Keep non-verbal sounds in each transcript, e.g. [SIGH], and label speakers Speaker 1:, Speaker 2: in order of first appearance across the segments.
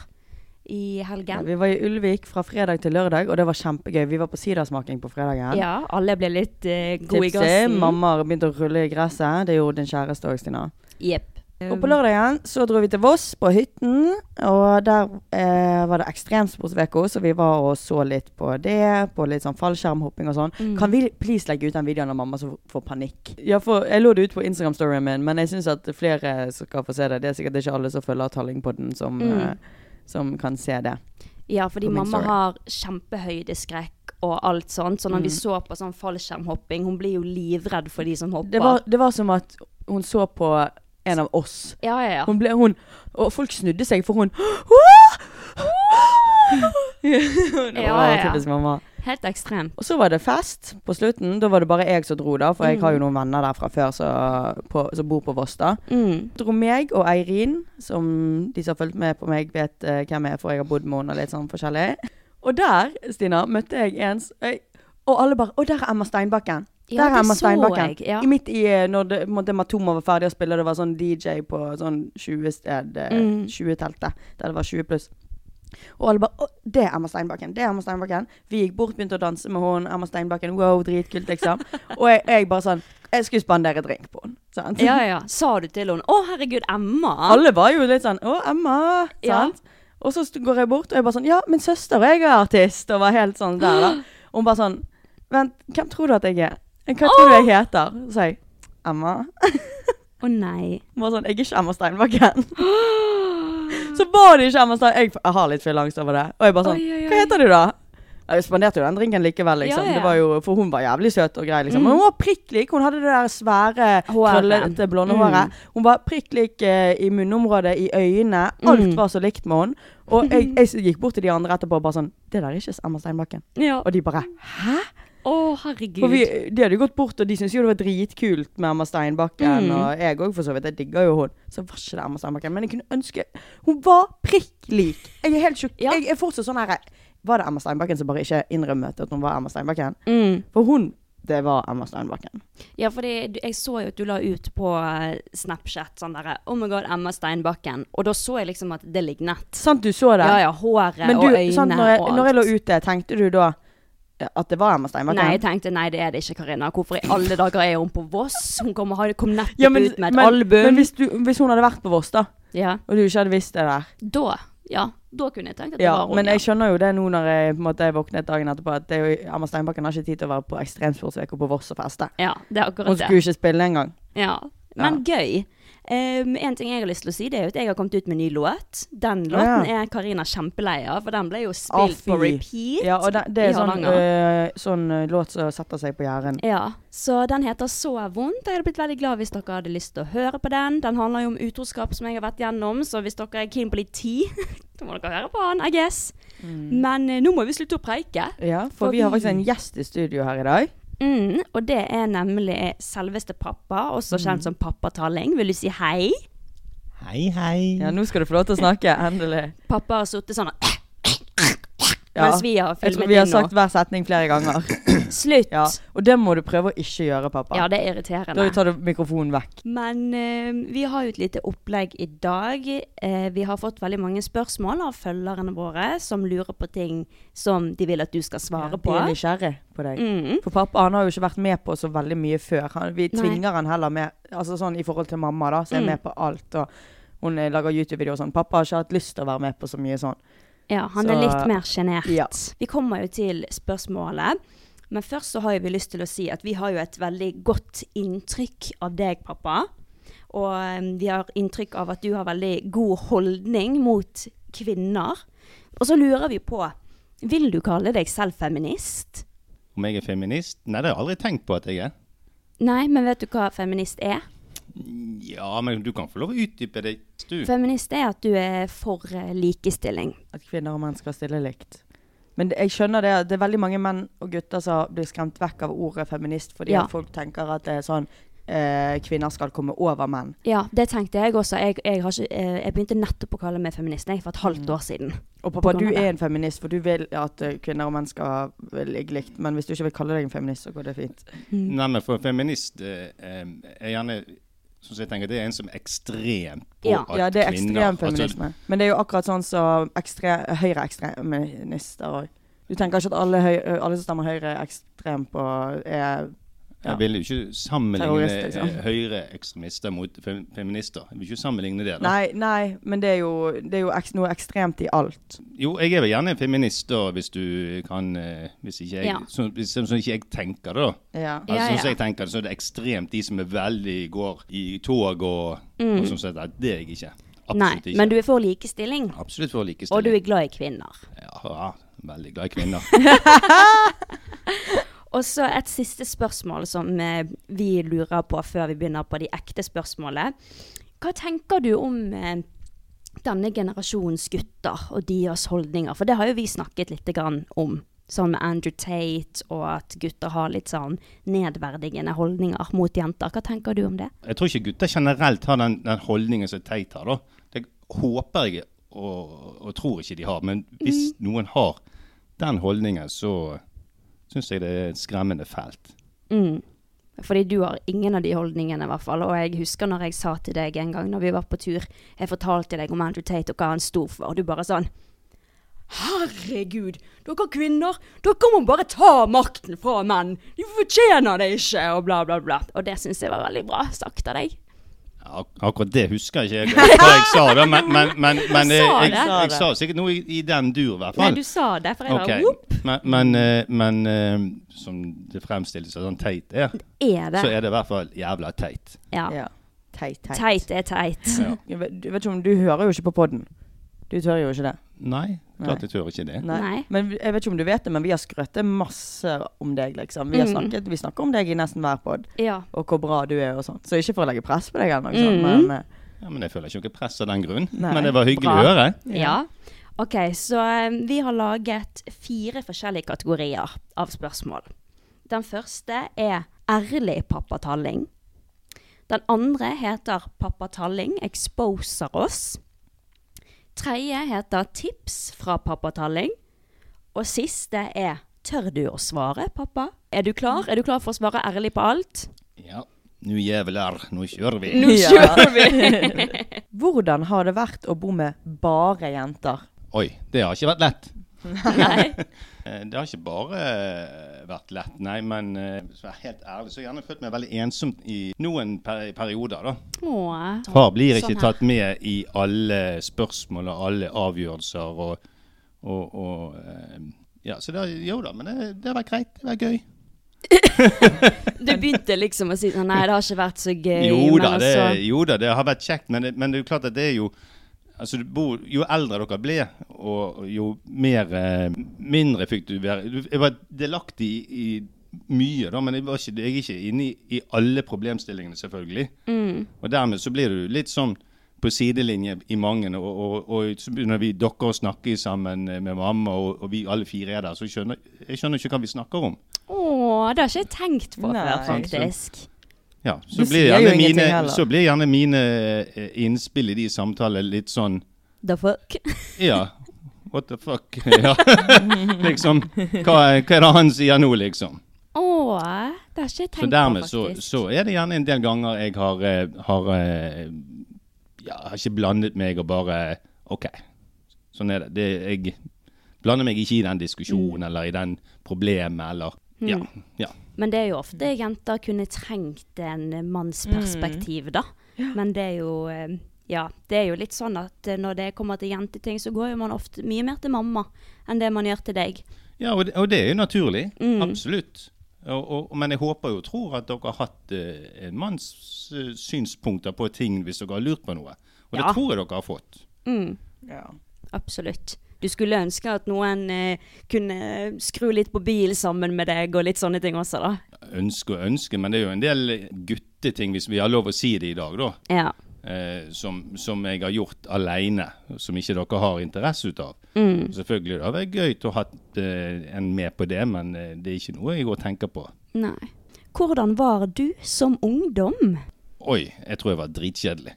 Speaker 1: i helgen.
Speaker 2: Vi var i Ulvik fra fredag til lørdag, og det var kjempegøy. Vi var på sidersmaking på fredagen.
Speaker 1: Ja, alle ble litt eh, gode i
Speaker 2: Tipsy.
Speaker 1: gassen.
Speaker 2: Mamma har begynt å rulle i gresset. Det gjorde din kjæreste òg, Stina.
Speaker 1: Jepp.
Speaker 2: Og på lørdagen så dro vi til Voss, på hytten. Og der eh, var det ekstremsportveko, så vi var og så litt på det. På litt sånn fallskjermhopping og sånn. Kan vi please legge ut den videoen av mamma som får panikk? Ja, for jeg lå det ut på Instagram-storyen min, men jeg syns at flere skal få se det. Det er sikkert ikke alle som følger Tallingpodden som,
Speaker 1: Mm.
Speaker 2: eh, som kan se det.
Speaker 1: Ja, fordi
Speaker 2: På min
Speaker 1: mamma
Speaker 2: story.
Speaker 1: har kjempehøydeskrekk og alt sånt. Så
Speaker 2: Mm.
Speaker 1: når vi så på sånn fallskjermhopping, hun blir jo livredd for de som hopper.
Speaker 2: Det var, det var som at hun så på en av oss.
Speaker 1: Ja, ja, ja.
Speaker 2: Hun ble, hun, og folk snudde seg, for hun [GASPS] [LAUGHS] Det
Speaker 1: Ja,
Speaker 2: var
Speaker 1: ja.
Speaker 2: typisk mamma.
Speaker 1: Helt ekstrem.
Speaker 2: Og så var det fest på slutten. Da var det bare jeg som dro, da. For jeg har jo noen venner der fra før som på- som bor på Voss, da.
Speaker 1: Mm.
Speaker 2: Dro meg og Eirin, som de som har fulgt med på meg, vet eh, hvem jeg er, for jeg har bodd med henne og litt sånn forskjellig. Og der, Stina, møtte jeg en s- jeg- Og alle bare Å, der er Emma Steinbakken! Der
Speaker 1: Ja,
Speaker 2: er
Speaker 1: det
Speaker 2: Emma
Speaker 1: så
Speaker 2: Steinbakken.
Speaker 1: jeg, ja.
Speaker 2: I midt i eh, når det, på en måte, Matomo var ferdig å spille, og det var sånn DJ på sånn 20-sted,
Speaker 1: Mm.
Speaker 2: 20-teltet, der det var 20 pluss. Og alle bare 'Å, det er Emma Steinbakken'. det er Emma Steinbakken. Vi gikk bort, begynte å danse med henne. Emma Steinbakken, wow, dritkult, liksom. og jeg, jeg bare sånn Jeg skulle spandere drink på henne. sant?
Speaker 1: Ja, ja, ja. Sa du til henne 'Å, herregud, Emma'?
Speaker 2: Alle var jo litt sånn 'Å, Emma'.
Speaker 1: Ja.
Speaker 2: Sant? Og så st- går jeg bort, og jeg bare sånn 'Ja, min søster og jeg er artist', og var helt sånn
Speaker 1: [GASPS]
Speaker 2: der, da. Og hun bare sånn 'Vent, hvem tror du at jeg er? Hva tror du jeg heter?' Så sa jeg 'Emma'.
Speaker 1: Å nei.
Speaker 2: Hun var sånn 'Jeg er ikke
Speaker 1: [GASPS]
Speaker 2: Emma Steinbakken'. så var det ikke Emma Steinbakken. Jeg, jeg har litt for angst over det. Og jeg bare sånn
Speaker 1: Oi, oi, oi.
Speaker 2: 'Hva heter du, da?' Jeg spanderte jo den drinken likevel,
Speaker 1: Ja,
Speaker 2: liksom.
Speaker 1: Mm. ja.
Speaker 2: Det var jo, for hun var jævlig søt og grei, liksom. Men hun var prikk lik. Hun hadde det der svære,
Speaker 1: Håret.
Speaker 2: krøllete, blonde
Speaker 1: Mm.
Speaker 2: håret. Hun var prikk lik eh, i munnområdet, i øynene. Alt
Speaker 1: Mm.
Speaker 2: var så likt med henne. Og jeg,
Speaker 1: [LAUGHS]
Speaker 2: jeg gikk bort til de andre etterpå og bare sånn 'Det der er ikke Emma Steinbakken'.
Speaker 1: Ja.
Speaker 2: Og de bare
Speaker 1: Å, herregud.
Speaker 2: for vi, de hadde jo gått bort, og de syntes jo det var dritkult med Emma Steinbakken.
Speaker 1: Mm.
Speaker 2: Og jeg òg, for så vidt. Jeg digger jo hun. Så var ikke det Emma Steinbakken. Men jeg kunne ønske Hun var prikk lik! Jeg er helt sjokk.
Speaker 1: Ja.
Speaker 2: Jeg er fortsatt sånn her Var det Emma Steinbakken som bare ikke innrømmet at hun var Emma Steinbakken?
Speaker 1: Mm.
Speaker 2: For hun det var Emma Steinbakken.
Speaker 1: Ja, fordi du- jeg så jo at du la ut på eh, Snapchat sånn derre 'Oh my god, Emma Steinbakken'. Og da så jeg liksom at det lignet.
Speaker 2: Sant du så det?
Speaker 1: Ja, ja. Håret
Speaker 2: Men du,
Speaker 1: og øynene
Speaker 2: sant, når, jeg,
Speaker 1: og alt.
Speaker 2: når jeg lå ute, tenkte du da at det var Emma Steinbakken?
Speaker 1: Nei, jeg tenkte nei, det er det ikke, Karina. Hvorfor i alle dager er hun på Voss? Hun kommer, har- kom nettopp
Speaker 2: ja, men,
Speaker 1: ut med et
Speaker 2: men,
Speaker 1: album.
Speaker 2: Men hvis, du, hvis hun hadde vært på Voss, da,
Speaker 1: ja.
Speaker 2: og du ikke hadde visst det der
Speaker 1: Da, ja, da kunne jeg tenkt at det
Speaker 2: Ja,
Speaker 1: var hun.
Speaker 2: men
Speaker 1: ja.
Speaker 2: jeg skjønner jo det nå når jeg på en måte våknet dagen etterpå, at det er jo, Emma Steinbakken har ikke tid til å være på ekstremsportsveke på Voss og feste.
Speaker 1: ja, det er akkurat
Speaker 2: Hun
Speaker 1: det.
Speaker 2: skulle ikke spille engang.
Speaker 1: Ja. Men gøy. Ehm, en ting jeg har lyst til å si, det er jo at jeg har kommet ut med en ny låt. Den
Speaker 2: Å, ja.
Speaker 1: låten er Karina kjempelei av, for den ble jo spilt
Speaker 2: Å,
Speaker 1: på
Speaker 2: fy.
Speaker 1: repeat
Speaker 2: Ja, og det, det
Speaker 1: i
Speaker 2: er sånn,
Speaker 1: Hardanger.
Speaker 2: øh, sånn øh, låt som setter seg på hjernen.
Speaker 1: Ja, så den heter Så vondt. Jeg hadde blitt veldig glad hvis dere hadde lyst til å høre på den. Den handler jo om utroskap som jeg har vært gjennom, så hvis dere er keen på litt tid, [LAUGHS] da må dere høre på den, I guess.
Speaker 2: Mm.
Speaker 1: Men eh, nå må vi slutte å preike.
Speaker 2: Ja,
Speaker 1: For
Speaker 2: for vi har
Speaker 1: vi-
Speaker 2: faktisk en gjest i studio her i dag.
Speaker 1: Mm, og det er nemlig selveste pappa, også
Speaker 2: Mm.
Speaker 1: kjent som pappa Talling. Vil du si hei?
Speaker 3: Hei, hei.
Speaker 2: Ja, nå skal du få lov til å snakke, endelig.
Speaker 1: Pappa har sittet sånn og
Speaker 2: Ja.
Speaker 1: Mens vi har
Speaker 2: Jeg tror
Speaker 1: filmet
Speaker 2: vi har
Speaker 1: inn nå.
Speaker 2: sagt hver setning flere ganger.
Speaker 1: Slutt!
Speaker 2: Ja,
Speaker 1: Ja.
Speaker 2: og det må du prøve å ikke gjøre, pappa.
Speaker 1: det er irriterende.
Speaker 2: Da tar du mikrofonen vekk.
Speaker 1: Men eh, vi har jo et lite opplegg i dag. Eh, vi har fått veldig mange spørsmål av følgerne våre som lurer på ting som de vil at du skal svare på.
Speaker 2: De er nysgjerrig på deg.
Speaker 1: Mm.
Speaker 2: For pappa han har jo ikke vært med på så veldig mye før. Han, vi
Speaker 1: Nei.
Speaker 2: tvinger han heller med, altså sånn i forhold til mamma da, som er
Speaker 1: Mm.
Speaker 2: med på alt. Og hun eh, lager YouTube-videoer og sånn. Pappa har ikke hatt lyst til å være med på så mye sånn.
Speaker 1: Ja, han
Speaker 2: Så-
Speaker 1: er litt mer sjenert.
Speaker 2: Ja.
Speaker 1: Vi kommer jo til spørsmålet. Men først så har jo vi lyst til å si at vi har jo et veldig godt inntrykk av deg, pappa. Og eh, vi har inntrykk av at du har veldig god holdning mot kvinner. Og så lurer vi på, vil du kalle deg selv feminist?
Speaker 3: Om jeg er feminist? Nei, det har jeg aldri tenkt på at jeg er.
Speaker 1: Nei, men vet du hva feminist er?
Speaker 3: Ja, men du kan få lov å utdype det. Du.
Speaker 1: Feminist er at du er for eh, likestilling.
Speaker 2: At kvinner og menn skal stille likt. Men det, jeg skjønner det, at det er veldig mange menn og gutter som blir skremt vekk av ordet feminist fordi
Speaker 1: Ja.
Speaker 2: at folk tenker at det er sånn eh, kvinner skal komme over menn.
Speaker 1: Ja, det tenkte jeg også. Jeg, jeg, har ikke, eh, jeg begynte nettopp å kalle meg feminist jeg, for et
Speaker 3: Mm.
Speaker 1: halvt år siden.
Speaker 2: Og pappa,
Speaker 1: grunn
Speaker 2: du
Speaker 1: av det.
Speaker 2: er en feminist, for du vil at eh, kvinner og menn skal eh, ligge likt. Men hvis du ikke vil kalle deg en feminist, så går det fint.
Speaker 3: Nei, men for feminist eh, eh, er gjerne sånn som jeg tenker, det er en som er ekstremt på
Speaker 1: Ja.
Speaker 3: at
Speaker 2: ja, det er
Speaker 3: kvinner
Speaker 2: ekstrem
Speaker 3: altså,
Speaker 2: feminisme. men det er jo akkurat sånn som ekstre, høyreekstremister òg. Du tenker ikke at alle, høy, alle som stemmer høyreekstrem på er Ja.
Speaker 3: Jeg vil jo ikke sammenligne
Speaker 2: Terrorist, liksom.
Speaker 3: eh, høyreekstremister mot fem feminister. Jeg vil ikke sammenligne det. da.
Speaker 2: Nei, nei, men det er jo, det er jo eks, noe ekstremt i alt.
Speaker 3: Jo, jeg er vel gjerne en feminist, da, hvis du kan eh, Hvis ikke jeg,
Speaker 1: Ja.
Speaker 3: sånn, hvis, sånn som ikke jeg tenker det, da.
Speaker 2: Ja.
Speaker 3: Altså,
Speaker 1: Ja,
Speaker 3: sånn
Speaker 1: ja.
Speaker 3: som jeg tenker det, så er det ekstremt de som er veldig går i tog og,
Speaker 2: Mm.
Speaker 3: og sånn sett. Nei, Det er jeg ikke. Absolutt
Speaker 1: Nei,
Speaker 3: ikke.
Speaker 1: men du er for likestilling,
Speaker 3: Absolutt for
Speaker 1: og du
Speaker 3: likestilling.
Speaker 1: er glad i kvinner.
Speaker 3: Ja, veldig glad i kvinner. [LAUGHS]
Speaker 1: Og så et siste spørsmål som eh, vi lurer på før vi begynner på de ekte spørsmålene. Hva tenker du om eh, denne generasjons gutter og deres holdninger? For det har jo vi snakket litt grann om, sånn med Andrew Tate, og at gutter har litt sånn nedverdigende holdninger mot jenter. Hva tenker du om det?
Speaker 3: Jeg tror ikke gutter generelt har den, den holdningen som Teit har. da. Det håper jeg og, og tror ikke de har. Men hvis
Speaker 1: Mm.
Speaker 3: noen har den holdningen, så syns jeg det er skremmende fælt.
Speaker 1: Mm. Fordi du har ingen av de holdningene, i hvert fall. Og jeg husker når jeg sa til deg en gang når vi var på tur, jeg fortalte deg om Andrew Tate og hva han sto for, og du bare sånn Herregud, dere kvinner, dere må bare ta makten fra menn! De fortjener det ikke! Og bla, bla, bla. Og det syns jeg var veldig bra sagt av deg.
Speaker 3: Ak akkurat det husker
Speaker 1: [LAUGHS]
Speaker 3: jeg ikke jeg, hva jeg sa, da, men, men, men, men
Speaker 1: Du
Speaker 3: eh,
Speaker 1: sa
Speaker 3: jeg,
Speaker 1: det.
Speaker 3: jeg, sa sikkert noe i, i den dur, i hvert
Speaker 1: Nei,
Speaker 3: fall.
Speaker 1: du sa det, for jeg
Speaker 3: Ok.
Speaker 1: bare whoop,
Speaker 3: Men, men, eh, men eh, som det fremstilles som sånn teit er,
Speaker 1: Er det?
Speaker 3: så er det i hvert fall jævla teit.
Speaker 1: Ja.
Speaker 2: Ja. Teit, teit.
Speaker 1: Teit er teit.
Speaker 2: Jeg vet, du vet ikke om du hører jo ikke på podden. Du tør jo ikke det.
Speaker 3: Nei, klart jeg tør ikke det.
Speaker 1: Nei.
Speaker 2: Men vi- jeg vet ikke om du vet det, men vi har skrøtet masse om deg, liksom. Vi, har
Speaker 1: Mm.
Speaker 2: snakket, vi snakker om deg i nesten hver pod,
Speaker 1: Ja.
Speaker 2: og hvor bra du er og sånn. Så ikke for å legge press på deg, eller noe sånt, men eh,
Speaker 3: Ja, men Jeg føler ikke noe press av den grunn.
Speaker 2: Nei.
Speaker 3: Men det var hyggelig
Speaker 1: Bra.
Speaker 3: å høre.
Speaker 1: Ja. Ok, så eh, vi har laget fire forskjellige kategorier av spørsmål. Den første er ærlig pappa Talling. Den andre heter pappa Talling exposer oss. Tredje heter tips fra pappa Talling. Og siste er tør du å svare, pappa? Er du klar? Er du klar for å svare ærlig på alt?
Speaker 3: Ja, nå jævler, nå kjører vi.
Speaker 2: Ja. [LAUGHS] Hvordan har det vært å bo med bare jenter?
Speaker 3: Oi, det har ikke vært lett.
Speaker 1: Nei.
Speaker 3: [LAUGHS] Eh, Det har ikke bare eh, vært lett, nei, men eh, hvis jeg er helt ærlig, så har jeg gjerne følt meg veldig ensom i noen per perioder, da.
Speaker 1: Åh.
Speaker 3: Far blir ikke
Speaker 1: Sånn her.
Speaker 3: tatt med i alle spørsmål og alle avgjørelser og, og, og eh, Ja, så det har, jo da, men det, det har vært greit. Det har vært gøy.
Speaker 1: Du begynte liksom å si sånn Nei, det har ikke vært så gøy.
Speaker 3: Jo da,
Speaker 1: men
Speaker 3: det,
Speaker 1: altså-
Speaker 3: jo da, det har vært kjekt, men det, men det er jo klart at det er jo Altså, du bor, jo eldre dere ble, og jo mer, eh, mindre fikk du være du- Jeg var delaktig i, i mye, da, men jeg, var ikke, jeg er ikke inne i, i alle problemstillingene, selvfølgelig. Og dermed så blir du litt sånn på sidelinje i mange, og, og, og så begynner vi dere å snakke sammen eh, med mamma, og, og vi alle fire er der, så skjønner jeg skjønner ikke hva vi snakker om.
Speaker 1: Å, det har ikke jeg tenkt på
Speaker 2: Nei.
Speaker 1: før,
Speaker 3: Sant,
Speaker 1: faktisk.
Speaker 3: Ja, så
Speaker 2: Du sier
Speaker 3: blir,
Speaker 2: jo
Speaker 3: gjerne
Speaker 2: ingenting
Speaker 3: mine,
Speaker 2: heller.
Speaker 3: så blir gjerne mine eh, innspill i de samtalene litt sånn
Speaker 1: The fuck?
Speaker 3: Ja, what the fuck? [LAUGHS] Ja. liksom, hva, er- hva er det han sier nå, liksom?
Speaker 1: Å, det har ikke jeg tenkt
Speaker 3: Så dermed
Speaker 1: på,
Speaker 3: så,
Speaker 1: faktisk.
Speaker 3: så er det gjerne en del ganger jeg har, eh, har eh, Ja, har ikke blandet meg og bare OK, sånn er det. det jeg blander meg ikke i den
Speaker 1: Mm.
Speaker 3: diskusjonen eller i den problemet eller Ja. ja.
Speaker 1: Men det er jo ofte jenter kunne trengt en manns perspektiv, da. Men det er jo eh, Ja, det er jo litt sånn at eh, når det kommer til jenteting, så går jo man ofte mye mer til mamma enn det man gjør til deg.
Speaker 3: Ja, og det, og det er jo naturlig. Absolutt. Og, og, men jeg håper jo og tror at dere har hatt eh, en manns eh, synspunkter på ting hvis dere har lurt på noe.
Speaker 1: Ja.
Speaker 3: Og det tror jeg dere har fått.
Speaker 1: Mm.
Speaker 2: Ja.
Speaker 1: Absolutt. Du skulle ønske at noen eh, kunne skru litt på bil sammen med deg, og litt sånne ting også, da.
Speaker 3: Ønske og ønske, men det er jo en del gutteting, hvis vi har lov å si det i dag, da.
Speaker 1: Ja.
Speaker 3: Eh, som, som jeg har gjort alene, som ikke dere har interesse ut av. Selvfølgelig det hadde vært gøy å ha eh, en med på det, men eh, det er ikke noe jeg går og tenker på.
Speaker 1: Nei. Hvordan var du som ungdom?
Speaker 3: Oi, jeg tror jeg var dritkjedelig.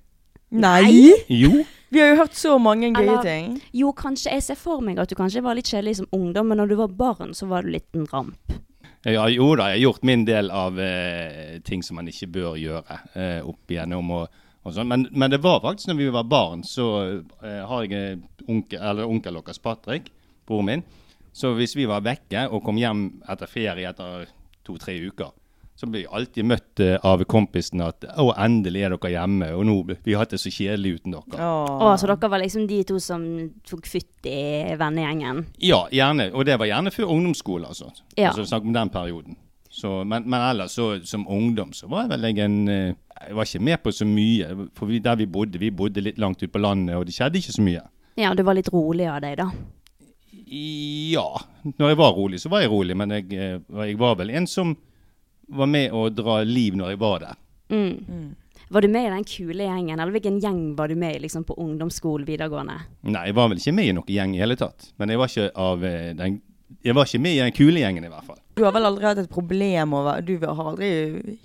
Speaker 2: Nei!
Speaker 3: Jo,
Speaker 2: Vi har jo hørt så mange gøye
Speaker 1: Eller-
Speaker 2: ting.
Speaker 1: Jo, kanskje jeg ser for meg at du kanskje var litt kjedelig som ungdom, men når du var barn, så var du litt en ramp.
Speaker 3: Ja, jo da, jeg har gjort min del av eh, ting som man ikke bør gjøre eh, opp igjennom og, og sånn. Men, men det var faktisk når vi var barn, så eh, har jeg eh, onkel, eller onkel deres Patrick, broren min. Så hvis vi var vekke og kom hjem etter ferie etter to-tre uker, så ble vi alltid møtt eh, av kompisene at å, endelig er dere hjemme, og nå, vi har hatt det så kjedelig uten dere.
Speaker 2: Åh.
Speaker 1: Å, så dere var liksom de to som tok fytt i vennegjengen.
Speaker 3: Ja, gjerne. Og det var gjerne før ungdomsskole, altså.
Speaker 1: Ja.
Speaker 3: altså snakk om den perioden. Så, men, men ellers, så, som ungdom, så var jeg vel jeg en eh, Jeg var ikke med på så mye. For vi, der vi bodde, vi bodde litt langt ut på landet, og det skjedde ikke så mye.
Speaker 1: Ja, du var litt rolig av deg, da.
Speaker 3: Ja. Når jeg var rolig, så var jeg rolig, men jeg, eh, jeg var vel en som var med å dra liv når jeg var der.
Speaker 1: Var du med i den kule gjengen, eller hvilken gjeng var du med i liksom på ungdomsskolen, videregående?
Speaker 3: Nei, jeg var vel ikke med i noen gjeng i hele tatt. Men jeg var ikke av eh, den Jeg var ikke med i den kule gjengen, i hvert fall.
Speaker 2: Du har vel aldri hatt et problem over Du har aldri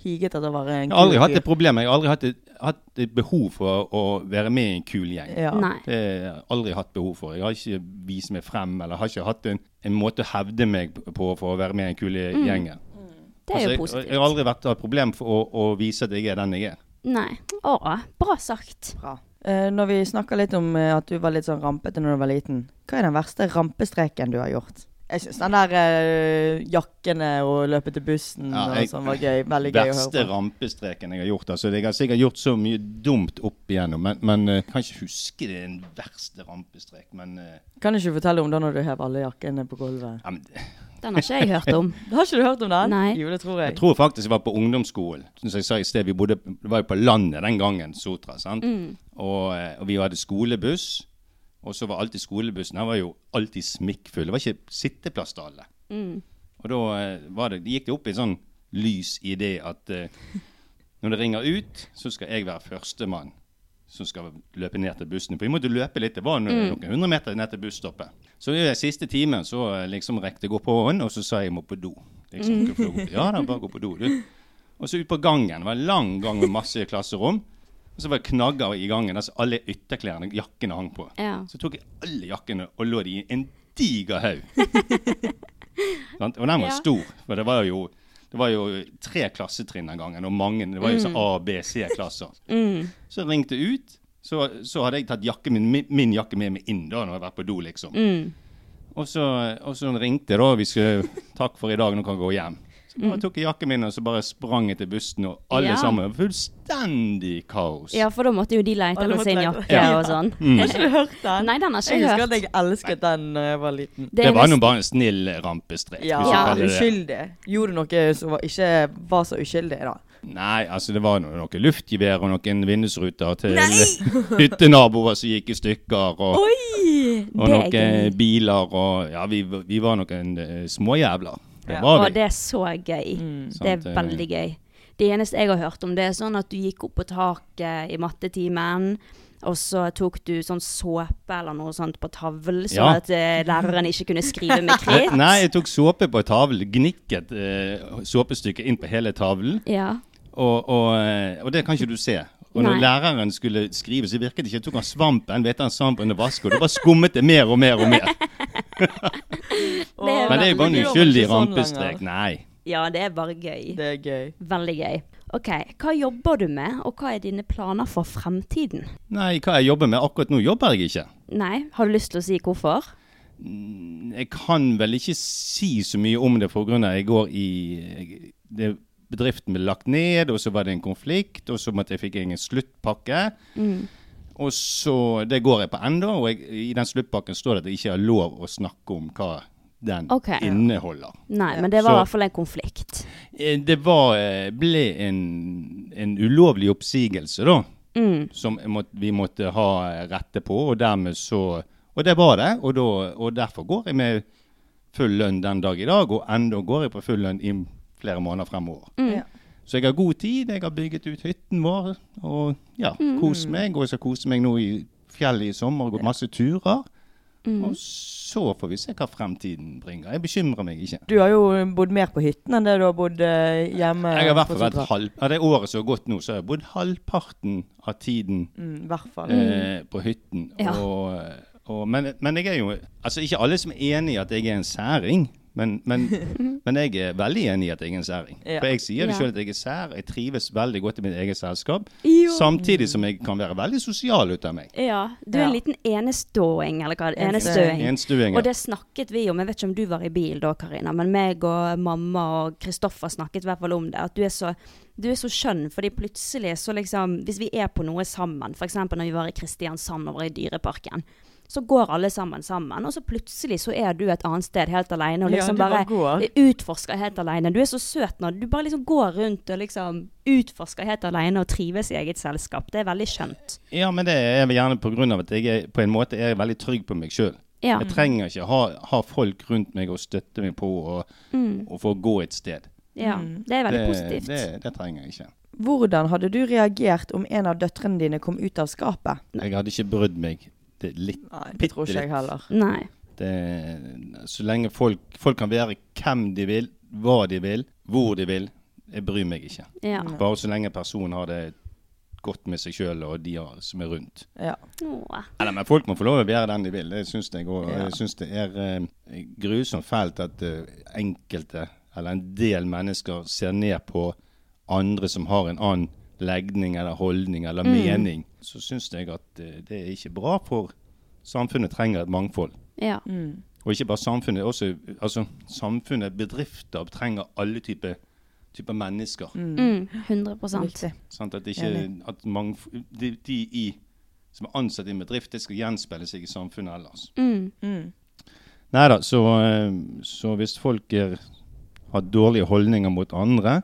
Speaker 2: higet etter å være en
Speaker 3: Jeg har aldri hatt
Speaker 2: fyr?
Speaker 3: et problem. Jeg har aldri hatt et, hatt et behov for å være med i en kul gjeng.
Speaker 2: Ja.
Speaker 1: Nei.
Speaker 3: Det har jeg aldri hatt behov for. Jeg har ikke vist meg frem, eller har ikke hatt en, en måte å hevde meg på for å være med i en kul
Speaker 2: Mm.
Speaker 3: gjeng.
Speaker 1: Det er
Speaker 3: Altså,
Speaker 1: jo
Speaker 3: jeg,
Speaker 1: positivt.
Speaker 3: jeg har aldri vært et problem for å, å vise at jeg er den jeg er.
Speaker 1: Nei. Å, bra sagt.
Speaker 2: Bra. Eh, når vi snakker litt om eh, at du var litt sånn rampete når du var liten, hva er den verste rampestreken du har gjort? Jeg syns den der eh, jakkene og løpe til bussen
Speaker 3: Ja,
Speaker 2: og
Speaker 3: jeg-
Speaker 2: sånn var gøy. Veldig gøy å
Speaker 3: Verste
Speaker 2: høre på.
Speaker 3: rampestreken jeg har gjort. Altså, jeg har sikkert gjort så mye dumt opp igjennom, men, men eh, jeg kan ikke huske det er en verste rampestrek. Men, eh,
Speaker 2: Kan du ikke fortelle om da når du hev alle jakkene på gulvet?
Speaker 3: ja, men det-
Speaker 1: Den har ikke jeg hørt om.
Speaker 2: Har ikke du hørt om den?
Speaker 1: Nei.
Speaker 2: Jo, det tror
Speaker 3: Jeg
Speaker 2: jeg.
Speaker 3: tror faktisk jeg var på ungdomsskolen. Som jeg sa i sted, vi bodde, det var jo på landet den gangen, Sotra. sant? Og, eh, og vi hadde skolebuss, og så var alltid skolebussen den var jo alltid smikkfull. Det var ikke sitteplass til alle. Og da eh, var det, gikk det opp i sånn lys i det at eh, når det ringer ut, så skal jeg være førstemann som skal løpe ned til bussen. For vi måtte løpe litt. Det var noen, noen hundre meter ned til busstoppet. Så i den siste timen så eh, liksom rekte jeg opp hånden, og så sa jeg jeg må på do. Liksom, hvorfor gå på do? ja da, bare gå på do, du. Og så ut på gangen. Det var en lang gang med masse klasserom. Og så var det knagger i gangen. Altså alle ytterklærne, jakkene hang på.
Speaker 1: Ja.
Speaker 3: Så tok jeg alle jakkene og lå de i en diger haug. Sant? Og den var
Speaker 1: Ja.
Speaker 3: stor. For det var jo det var jo tre klassetrinn den gangen, og mange. Det var jo sånn A,
Speaker 1: Mm.
Speaker 3: B,
Speaker 1: [LAUGHS]
Speaker 3: C-klasser. Så ringte jeg ut. Så, så hadde jeg tatt jakken min, min, min jakke med meg inn da, når jeg har vært på do,
Speaker 1: Mm.
Speaker 3: [LAUGHS] liksom. Og, så, og så ringte jeg da, vi skulle, takk for i dag, nå kan jeg gå hjem. Så bare tok jeg jakken min og så bare sprang jeg til bussen, og alle
Speaker 1: Mm. Ja.
Speaker 3: sammen Fullstendig kaos.
Speaker 1: Ja, for da måtte jo de
Speaker 2: Ja,
Speaker 1: lete
Speaker 2: da
Speaker 1: etter
Speaker 2: måtte
Speaker 1: sin
Speaker 2: de-
Speaker 1: jakke
Speaker 2: Ja. Mm.
Speaker 1: og sånn.
Speaker 3: Mm.
Speaker 2: Har ikke du hørt den?
Speaker 1: Nei, den har ikke
Speaker 2: jeg
Speaker 1: jeg
Speaker 2: husker
Speaker 1: hørt.
Speaker 2: at jeg elsket den da jeg var liten.
Speaker 1: Det
Speaker 3: Det
Speaker 1: er
Speaker 3: var
Speaker 1: visst-
Speaker 3: nå bare en snill rampestrek.
Speaker 2: Ja,
Speaker 3: hvis du
Speaker 1: Ja.
Speaker 3: kaller det det.
Speaker 2: uskyldig. Gjorde noe som var, ikke var så uskyldig, da.
Speaker 3: Nei, altså det var no- noen luftgevær og noen vindusruter til [LAUGHS] hyttenaboer som gikk i stykker, og, og
Speaker 1: det er gøy.
Speaker 3: noen biler og Ja, vi, vi var noen eh, småjævler. Det
Speaker 2: Ja.
Speaker 3: var
Speaker 1: Og
Speaker 3: vi.
Speaker 1: det er så gøy.
Speaker 2: Mm.
Speaker 1: Det
Speaker 3: Sant,
Speaker 1: er
Speaker 3: eh.
Speaker 1: veldig gøy. Det eneste jeg har hørt om, det er sånn at du gikk opp på taket i mattetimen, og så tok du sånn såpe eller noe sånt på tavlen, så
Speaker 3: Ja.
Speaker 1: at eh, læreren ikke kunne skrive med
Speaker 3: [LAUGHS] Eh,
Speaker 1: kritt.
Speaker 3: Nei, jeg tok såpe på tavlen, gnikket eh, såpestykket inn på hele tavlen,
Speaker 1: Ja.
Speaker 3: og, og, eh, og det kan ikke du se. Og
Speaker 1: Nei.
Speaker 3: når læreren skulle skrive, så virket det ikke. Jeg tok han svampen, vet han, svampen under vasken, og det bare skummet det mer og mer og
Speaker 1: [LAUGHS]
Speaker 3: mer.
Speaker 1: Det er
Speaker 3: Men det er jo bare
Speaker 2: Men
Speaker 3: en
Speaker 2: du var
Speaker 3: uskyldig
Speaker 2: ikke sånn lenger.
Speaker 3: rampestrek. Nei.
Speaker 1: ja, det er bare gøy.
Speaker 2: Det er gøy.
Speaker 1: Veldig gøy. Ok, hva jobber du med, og hva er dine planer for fremtiden?
Speaker 3: Nei, hva jeg jobber med akkurat nå, jobber jeg ikke.
Speaker 1: Nei, har du lyst til å si hvorfor?
Speaker 3: Jeg kan vel ikke si så mye om det pga. jeg går i det, Bedriften ble lagt ned, og så var det en konflikt, og så måtte jeg fikk jeg en sluttpakke. Og så Det går jeg på ennå, og jeg, i den sluttpakken står det at jeg ikke har lov å snakke om hva den
Speaker 1: Ok.
Speaker 3: inneholder.
Speaker 1: Nei, men det var i
Speaker 3: Så-
Speaker 1: hvert fall en konflikt.
Speaker 3: Eh, Det var, eh, ble en, en ulovlig oppsigelse, da. Som jeg måtte, vi måtte ha eh, rette på, og dermed så Og det var det, og, da, og derfor går jeg med full lønn den dag i dag, og enda går jeg på full lønn i flere måneder fremover.
Speaker 1: Mm.
Speaker 2: Ja.
Speaker 3: Så jeg har god tid, jeg har bygget ut hytten vår, og ja, kost meg. Og jeg skal kose meg nå i fjellet i sommer, og gått masse turer. Og så får vi se hva fremtiden bringer. Jeg bekymrer meg ikke.
Speaker 2: Du har jo bodd mer på hytten enn det du har bodd eh, hjemme.
Speaker 3: Jeg har i hvert fall
Speaker 2: på
Speaker 3: vært
Speaker 2: Sotra.
Speaker 3: halv, av det året som har gått nå, så har jeg bodd halvparten av tiden
Speaker 2: Mm, i hvert fall.
Speaker 3: eh, på hytten.
Speaker 1: Ja.
Speaker 3: Og, eh, og, men, men jeg er jo Altså, ikke alle som er enig i at jeg er en særing. Men, men,
Speaker 1: [LAUGHS]
Speaker 3: men jeg er veldig enig i at jeg er en særing.
Speaker 2: Ja.
Speaker 3: For jeg sier det
Speaker 1: Ja.
Speaker 3: sjøl at jeg er sær. Jeg trives veldig godt i mitt eget selskap.
Speaker 1: Jo.
Speaker 3: Samtidig som jeg kan være veldig sosial ut av meg.
Speaker 1: Ja, du er en
Speaker 2: Ja.
Speaker 1: liten eneståing, eller hva?
Speaker 2: Eneståing.
Speaker 1: Enestøing.
Speaker 3: Enstuing.
Speaker 1: Og det snakket vi om, jeg vet ikke om du var i bil da, Karina, men meg og mamma og Kristoffer snakket i hvert fall om det, at du er så, du er så skjønn, fordi plutselig så liksom, hvis vi er på noe sammen, for eksempel når vi var i Kristiansand og var i dyreparken, så går alle sammen sammen, og så plutselig så er du et annet sted helt alene, og
Speaker 2: Ja,
Speaker 1: liksom
Speaker 2: du bare
Speaker 1: bare
Speaker 2: går.
Speaker 1: utforsker helt alene. Du er så søt når du bare liksom går rundt og liksom utforsker helt alene og trives i eget selskap. Det er veldig skjønt.
Speaker 3: Ja, men det er vel gjerne pga. at jeg er, på en måte er veldig trygg på meg sjøl.
Speaker 1: Ja.
Speaker 3: Jeg trenger ikke ha, ha folk rundt meg å støtte meg på og, og få gå et sted.
Speaker 1: Ja, det er Mm. veldig
Speaker 3: det,
Speaker 1: positivt.
Speaker 3: Det, det trenger jeg ikke.
Speaker 2: Hvordan hadde du reagert om en av døtrene dine kom ut av skapet?
Speaker 3: Jeg hadde ikke brydd meg det litt.
Speaker 2: Nei, det tror ikke jeg heller.
Speaker 1: Nei.
Speaker 3: Det, så lenge folk, folk kan være hvem de vil, hva de vil, hvor de vil. Jeg bryr meg ikke.
Speaker 1: Ja.
Speaker 3: Bare så lenge personen har det godt med seg sjøl og de som er rundt.
Speaker 2: Ja.
Speaker 1: Åh.
Speaker 3: Eller, men folk må få lov å være den de vil. Det syns jeg òg.
Speaker 2: Ja.
Speaker 3: Jeg syns det er eh, grusomt fælt at eh, enkelte, eller en del mennesker, ser ned på andre som har en annen legning eller holdning eller mening. Så syns jeg at eh, det er ikke bra, for samfunnet trenger et mangfold.
Speaker 1: Ja.
Speaker 2: Mm.
Speaker 3: Og ikke bare samfunnet, også altså, samfunnet, bedrifter trenger alle typer typer mennesker.
Speaker 1: Mm, 100
Speaker 2: Riktig.
Speaker 3: Sant? At, ikke,
Speaker 2: Enig.
Speaker 3: at mangf de, de i, som er ansatt i en bedrift, det skal gjenspeile seg i samfunnet ellers.
Speaker 1: Mm.
Speaker 3: Nei da, så, eh, så hvis folk er, har dårlige holdninger mot andre,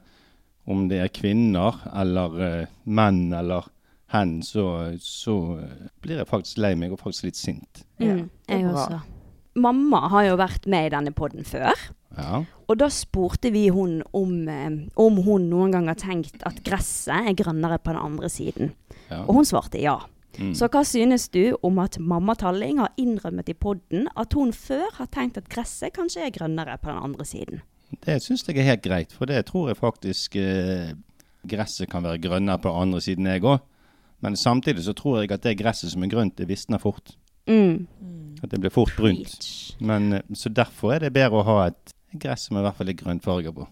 Speaker 3: om det er kvinner eller eh, menn eller hen, så, så eh, blir jeg faktisk lei meg og faktisk litt sint.
Speaker 1: Mm,
Speaker 2: er
Speaker 1: jeg
Speaker 2: bra.
Speaker 1: også. Mamma har jo vært med i denne podden før.
Speaker 3: Ja.
Speaker 1: Og da spurte vi hun om, eh, om hun noen gang har tenkt at gresset er grønnere på den andre siden.
Speaker 3: Ja.
Speaker 1: Og hun svarte ja. Så hva synes du om at mamma Talling har innrømmet i podden at hun før har tenkt at gresset kanskje er grønnere på den andre siden?
Speaker 3: Det syns jeg er helt greit, for det tror jeg faktisk eh, gresset kan være grønnere på andre siden jeg òg. Men samtidig så tror jeg at det gresset som er grønt, det visner fort.
Speaker 1: Mm.
Speaker 3: At det blir fort brunt.
Speaker 1: Preach.
Speaker 3: Men, eh, så derfor er det bedre å ha et gress som i hvert fall er grønnfarga på.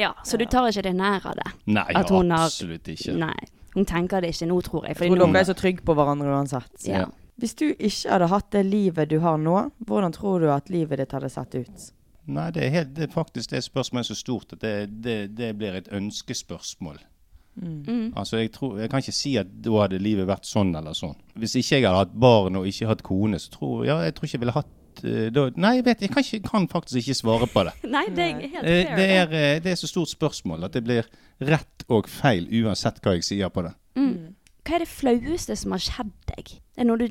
Speaker 1: Ja, så du tar ikke det nær av det?
Speaker 3: Nei,
Speaker 1: At hun har-
Speaker 3: absolutt ikke.
Speaker 1: Nei. Hun tenker det ikke nå, tror jeg. fordi
Speaker 2: Tror
Speaker 1: nå-
Speaker 2: dere er så trygge på hverandre uansett.
Speaker 1: ja.
Speaker 2: Hvis du ikke hadde hatt det livet du har nå, hvordan tror du at livet ditt hadde sett ut?
Speaker 3: Nei, det er, helt, det er faktisk det spørsmålet er så stort at det, det, det blir et ønskespørsmål.
Speaker 1: Mm.
Speaker 3: Altså, jeg, tror, jeg kan ikke si at da hadde livet vært sånn eller sånn. Hvis ikke jeg hadde hatt barn og ikke hatt kone, så tror ja, jeg tror ikke jeg ville hatt eh, da, Nei, jeg vet, jeg kan, ikke, kan faktisk ikke svare på det.
Speaker 1: Nei, det er helt
Speaker 3: Eh,
Speaker 1: fair.
Speaker 3: Det er, eh, det er så stort spørsmål at det blir rett og feil uansett hva jeg sier på det.
Speaker 1: Hva er det flaueste som har skjedd deg? Er det noe du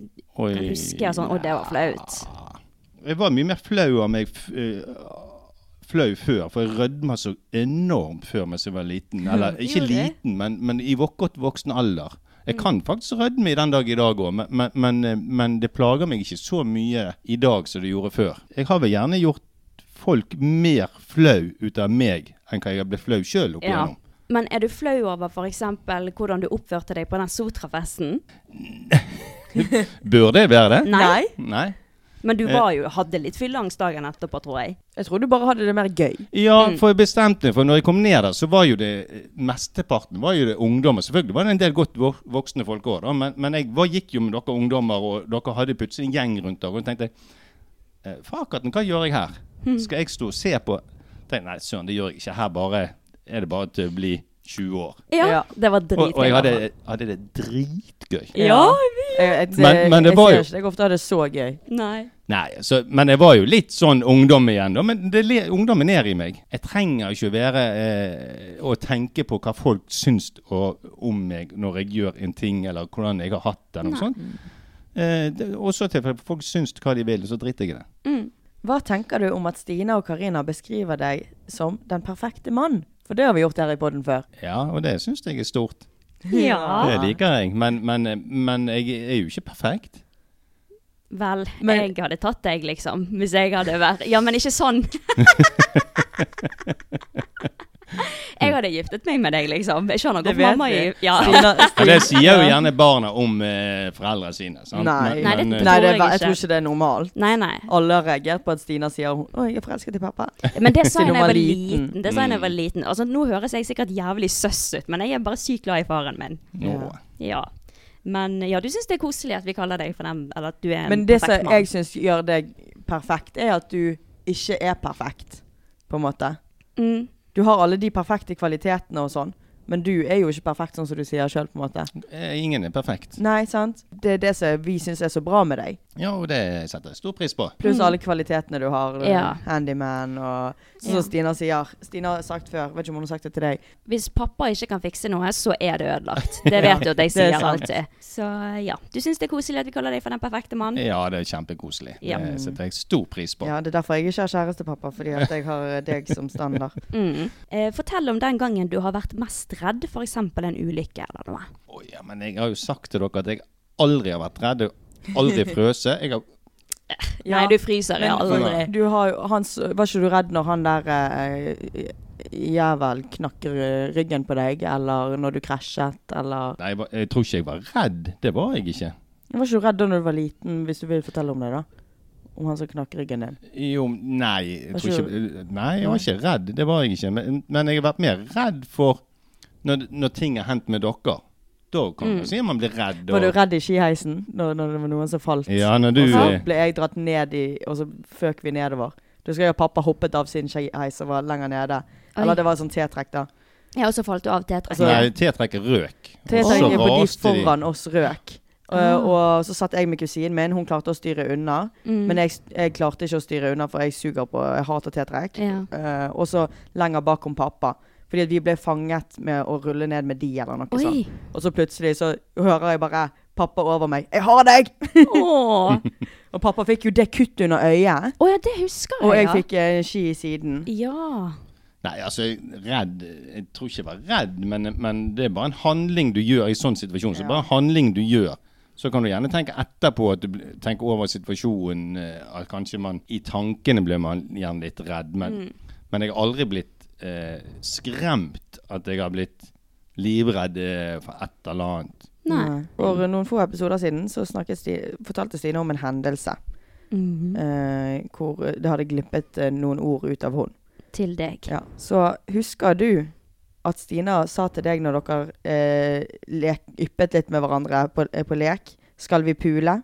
Speaker 3: Oi.
Speaker 1: kan huske og sånn 'Å, det var flaut'?
Speaker 3: Jeg var mye mer flau av meg f- eh, flau før, for jeg rødma så enormt før mens jeg var liten. Eller ikke
Speaker 4: Gjorde det?
Speaker 3: liten, men, men i vok- godt voksen alder. Jeg kan faktisk rødme i den dag i dag òg, men, men, men, eh, men det plager meg ikke så mye i dag som det gjorde før. Jeg har vel gjerne gjort folk mer flau ut av meg enn hva jeg ble flau sjøl opp
Speaker 1: Ja.
Speaker 3: igjennom.
Speaker 1: Men er du flau over f.eks. hvordan du oppførte deg på den Sotra-festen?
Speaker 3: Bør det være det?
Speaker 1: Nei.
Speaker 3: Nei?
Speaker 1: Men
Speaker 3: Eh.
Speaker 1: du var jo, hadde litt fylleangst dagen etterpå, tror jeg.
Speaker 2: Jeg tror du bare hadde det mer gøy.
Speaker 3: Ja, for jeg bestemte meg, for når jeg kom ned der, så var jo det eh, mesteparten var jo det ungdommer. Selvfølgelig var det en del godt vok- voksne folk òg, men, men jeg var, gikk jo med dere ungdommer, og dere hadde plutselig en gjeng rundt dere. Og tenkte eh, Fakaten, hva gjør jeg her? Skal jeg stå og se på? Tenkte, Nei, søren, det gjør jeg ikke. Her bare er det bare til å bli 20 år.
Speaker 1: Ja,
Speaker 2: Ja.
Speaker 1: Det var
Speaker 3: Og,
Speaker 1: dritgøy.
Speaker 3: og jeg hadde, hadde det dritgøy.
Speaker 1: Ja,
Speaker 2: Jeg, jeg,
Speaker 3: Men- men det
Speaker 2: jeg
Speaker 3: var
Speaker 2: ser
Speaker 3: jo-
Speaker 2: ikke deg ofte ha det så gøy.
Speaker 1: Nei.
Speaker 3: Nei, så, men jeg var jo litt sånn ungdom igjen, da. Men det le, ungdommen er i meg. Jeg trenger ikke å være eh, å tenke på hva folk syns og, om meg når jeg gjør en ting, eller hvordan jeg har hatt det, eller noe sånt. Eh, det, også til for folk syns hva de vil, så driter jeg i det.
Speaker 2: Hva tenker du om at Stina og Karina beskriver deg som den perfekte mann? For det har vi gjort her i podden før.
Speaker 3: Ja, og det syns jeg er stort.
Speaker 1: Ja.
Speaker 3: Det liker jeg. Men, men, men jeg er jo ikke perfekt.
Speaker 1: Vel,
Speaker 2: Men-
Speaker 1: jeg hadde tatt deg, liksom. Hvis jeg hadde vært Ja, men ikke sånn.
Speaker 3: [LAUGHS]
Speaker 1: jeg hadde giftet meg med deg, liksom. Jeg skjønner
Speaker 2: Det
Speaker 1: hvorfor
Speaker 2: vet
Speaker 1: mamma
Speaker 2: vi.
Speaker 1: gif- ja.
Speaker 2: [LAUGHS] Stina,
Speaker 3: Ja, det sier jo gjerne barna om eh, foreldrene sine. Sant?
Speaker 1: Nei, det
Speaker 2: Nei.
Speaker 3: eh,
Speaker 2: Nei, det,
Speaker 1: Tror jeg
Speaker 2: er ve- jeg
Speaker 1: ikke.
Speaker 2: tror ikke det er normalt.
Speaker 1: Nei, nei.
Speaker 2: Alle har reagert på at Stina sier hun, 'Å, jeg er forelsket i pappa'.
Speaker 1: Men det sa jeg
Speaker 2: Siden
Speaker 1: da
Speaker 2: hun
Speaker 1: jeg
Speaker 2: var
Speaker 1: var
Speaker 2: liten. Mm.
Speaker 1: liten. Det sa jeg da jeg var liten. Altså, nå høres jeg sikkert jævlig søss ut, men jeg er bare sykt glad i faren min.
Speaker 3: nå.
Speaker 1: Ja. Men ja, du syns det er koselig at vi kaller deg for den, eller at du er en
Speaker 2: Men det som
Speaker 1: perfekt mann.
Speaker 2: jeg syns gjør deg perfekt, er at du ikke er perfekt, på en måte.
Speaker 1: Mm.
Speaker 2: Du har alle de perfekte kvalitetene og sånn, men du er jo ikke perfekt sånn som du sier sjøl, på en måte.
Speaker 3: Eh, Ingen er perfekt.
Speaker 2: Nei, sant? Det er det som vi syns er så bra med deg.
Speaker 3: Ja, og det setter jeg stor pris på.
Speaker 2: Pluss alle kvalitetene du har.
Speaker 1: Mm.
Speaker 2: eh,
Speaker 1: Ja.
Speaker 2: Handyman og sånn som
Speaker 1: Ja.
Speaker 2: Stina sier. Stina har sagt før, vet ikke om hun har sagt det til deg.
Speaker 1: Hvis pappa ikke kan fikse noe, så er det
Speaker 2: [LAUGHS]
Speaker 1: ødelagt. Det vet du at jeg
Speaker 2: det er
Speaker 1: sier
Speaker 2: sant.
Speaker 1: alltid. Så ja. Du syns det er koselig at vi kaller deg for den perfekte mann?
Speaker 3: Ja, det er kjempekoselig.
Speaker 1: Ja.
Speaker 3: Det setter jeg stor pris på.
Speaker 2: Ja, Det er derfor jeg ikke har kjærestepappa, fordi at jeg har eh, deg som standard.
Speaker 1: Mm. Eh, fortell om den gangen du har vært mest redd, f.eks. en ulykke eller noe.
Speaker 3: Å, ja, men jeg har jo sagt til dere at jeg aldri har vært redd. og Aldri frøse. Jeg har,
Speaker 1: [LAUGHS]
Speaker 2: Ja.
Speaker 1: Nei, du fryser
Speaker 2: Men
Speaker 1: ja, aldri.
Speaker 2: Du har, jo- han, s- var ikke du redd når han der eh, jævel knakker eh, ryggen på deg, eller når du krasjet, eller
Speaker 3: nei, jeg, var, jeg tror ikke jeg var redd. Det var jeg ikke.
Speaker 2: Var ikke du redd da når du var liten, hvis du vil fortelle om det, da? Om han som knakk ryggen din.
Speaker 3: Jo, nei jeg,
Speaker 2: Var
Speaker 3: tror
Speaker 2: ikke
Speaker 3: ikke, nei, jeg var ikke redd. Det var jeg ikke. Men, men jeg har vært mer redd for når, når ting har hendt med dere. Da kan man si at man blir redd.
Speaker 2: Mm.
Speaker 3: og-
Speaker 2: Var du redd i skiheisen når, når det var noen som falt?
Speaker 3: Ja, når du
Speaker 2: Og så
Speaker 3: eh,
Speaker 2: ble jeg dratt ned i Og så føk vi nedover. Da husker jeg at pappa hoppet av sin skiheis og var lenger nede. Eller det var sånn T-trekk, da.
Speaker 1: Ja, og så falt du av til et
Speaker 2: så-
Speaker 3: Nei, T-trekket røk. og så
Speaker 2: T-trekkene på de
Speaker 3: raste
Speaker 2: foran oss røk. Og,
Speaker 1: Ah.
Speaker 2: og så satt jeg med kusinen min, hun klarte å styre unna.
Speaker 1: Mm.
Speaker 2: Men jeg, jeg klarte ikke å styre unna, for jeg suger på Jeg hater T-trekk.
Speaker 1: Ja.
Speaker 2: Eh, og så lenger bakom pappa. Fordi at vi ble fanget med å rulle ned med de eller noe
Speaker 1: Oi.
Speaker 2: sånt. Og så plutselig så hører jeg bare pappa over meg 'Jeg har deg!' [LAUGHS]
Speaker 1: Åh.
Speaker 2: Og pappa fikk jo det kuttet under øyet.
Speaker 1: Å ja, det husker jeg.
Speaker 2: Og jeg
Speaker 1: ja.
Speaker 2: fikk eh, ski i siden.
Speaker 1: Ja.
Speaker 3: Nei, altså, redd Jeg tror ikke jeg var redd, men, men det er bare en handling du gjør i sånn situasjon. Så bare en handling du gjør. Så kan du gjerne tenke etterpå, at du bl- tenker over situasjonen. eh, At kanskje man i tankene blir man gjerne litt redd. Men,
Speaker 1: Mm.
Speaker 3: men jeg har aldri blitt eh, skremt at jeg har blitt livredd eh, for et eller annet.
Speaker 1: Nei.
Speaker 2: Nei. For Mm. noen få episoder siden så snakket Sti, fortalte Stine om en hendelse
Speaker 1: Mm.
Speaker 2: eh, hvor det hadde glippet eh, noen ord ut av hun.
Speaker 1: Til deg.
Speaker 2: Ja. Så husker du at Stina sa til deg når dere eh, lek, yppet litt med hverandre på, eh, på lek 'Skal vi pule?'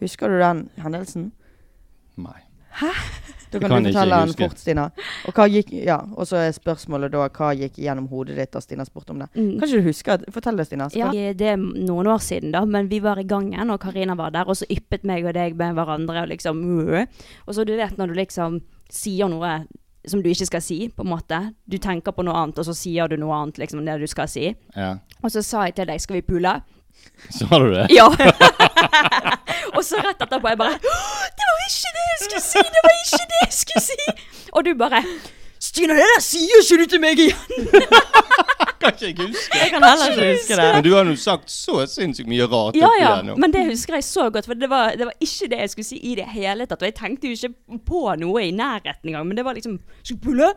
Speaker 2: Husker du den hendelsen?
Speaker 3: Nei.
Speaker 2: Da
Speaker 3: Jeg
Speaker 2: kan,
Speaker 3: kan
Speaker 2: du
Speaker 3: ikke
Speaker 2: fortelle den
Speaker 3: huske.
Speaker 2: fort, Stina. Og, hva gikk, ja, og så er spørsmålet da hva gikk gjennom hodet ditt da Stina spurte om det.
Speaker 1: Mm.
Speaker 2: Kan ikke du huske? at- Fortell det, Stina. så
Speaker 1: Ja,
Speaker 2: kan-
Speaker 1: det er noen år siden, da, men vi var i gangen, og Karina var der, og så yppet meg og deg med hverandre, og liksom «Mø». Og så du vet når du liksom sier noe som du ikke skal si, på en måte. Du tenker på noe annet, og så sier du noe annet, liksom, enn det du skal si.
Speaker 3: Ja. [LAUGHS]
Speaker 1: Og så sa jeg til deg 'skal vi pule'?
Speaker 3: Sa du det?
Speaker 1: Ja! [LAUGHS] og så rett etterpå jeg bare «Åh, 'Det var ikke det jeg skulle si! Det var ikke det jeg skulle si!' Og du bare 'Stina, det der sier ikke du til meg igjen!'
Speaker 3: Kan ikke jeg huske.
Speaker 2: Jeg kan heller ikke huske det.
Speaker 3: Men du har nå sagt så sinnssykt mye rart
Speaker 1: Ja,
Speaker 3: oppi
Speaker 1: ja.
Speaker 3: der nå.
Speaker 1: Men det husker jeg så godt, for det var, det var ikke det jeg skulle si i det hele tatt. Og jeg tenkte jo ikke på noe i nærheten engang, men det var liksom 'Skal vi pulle?'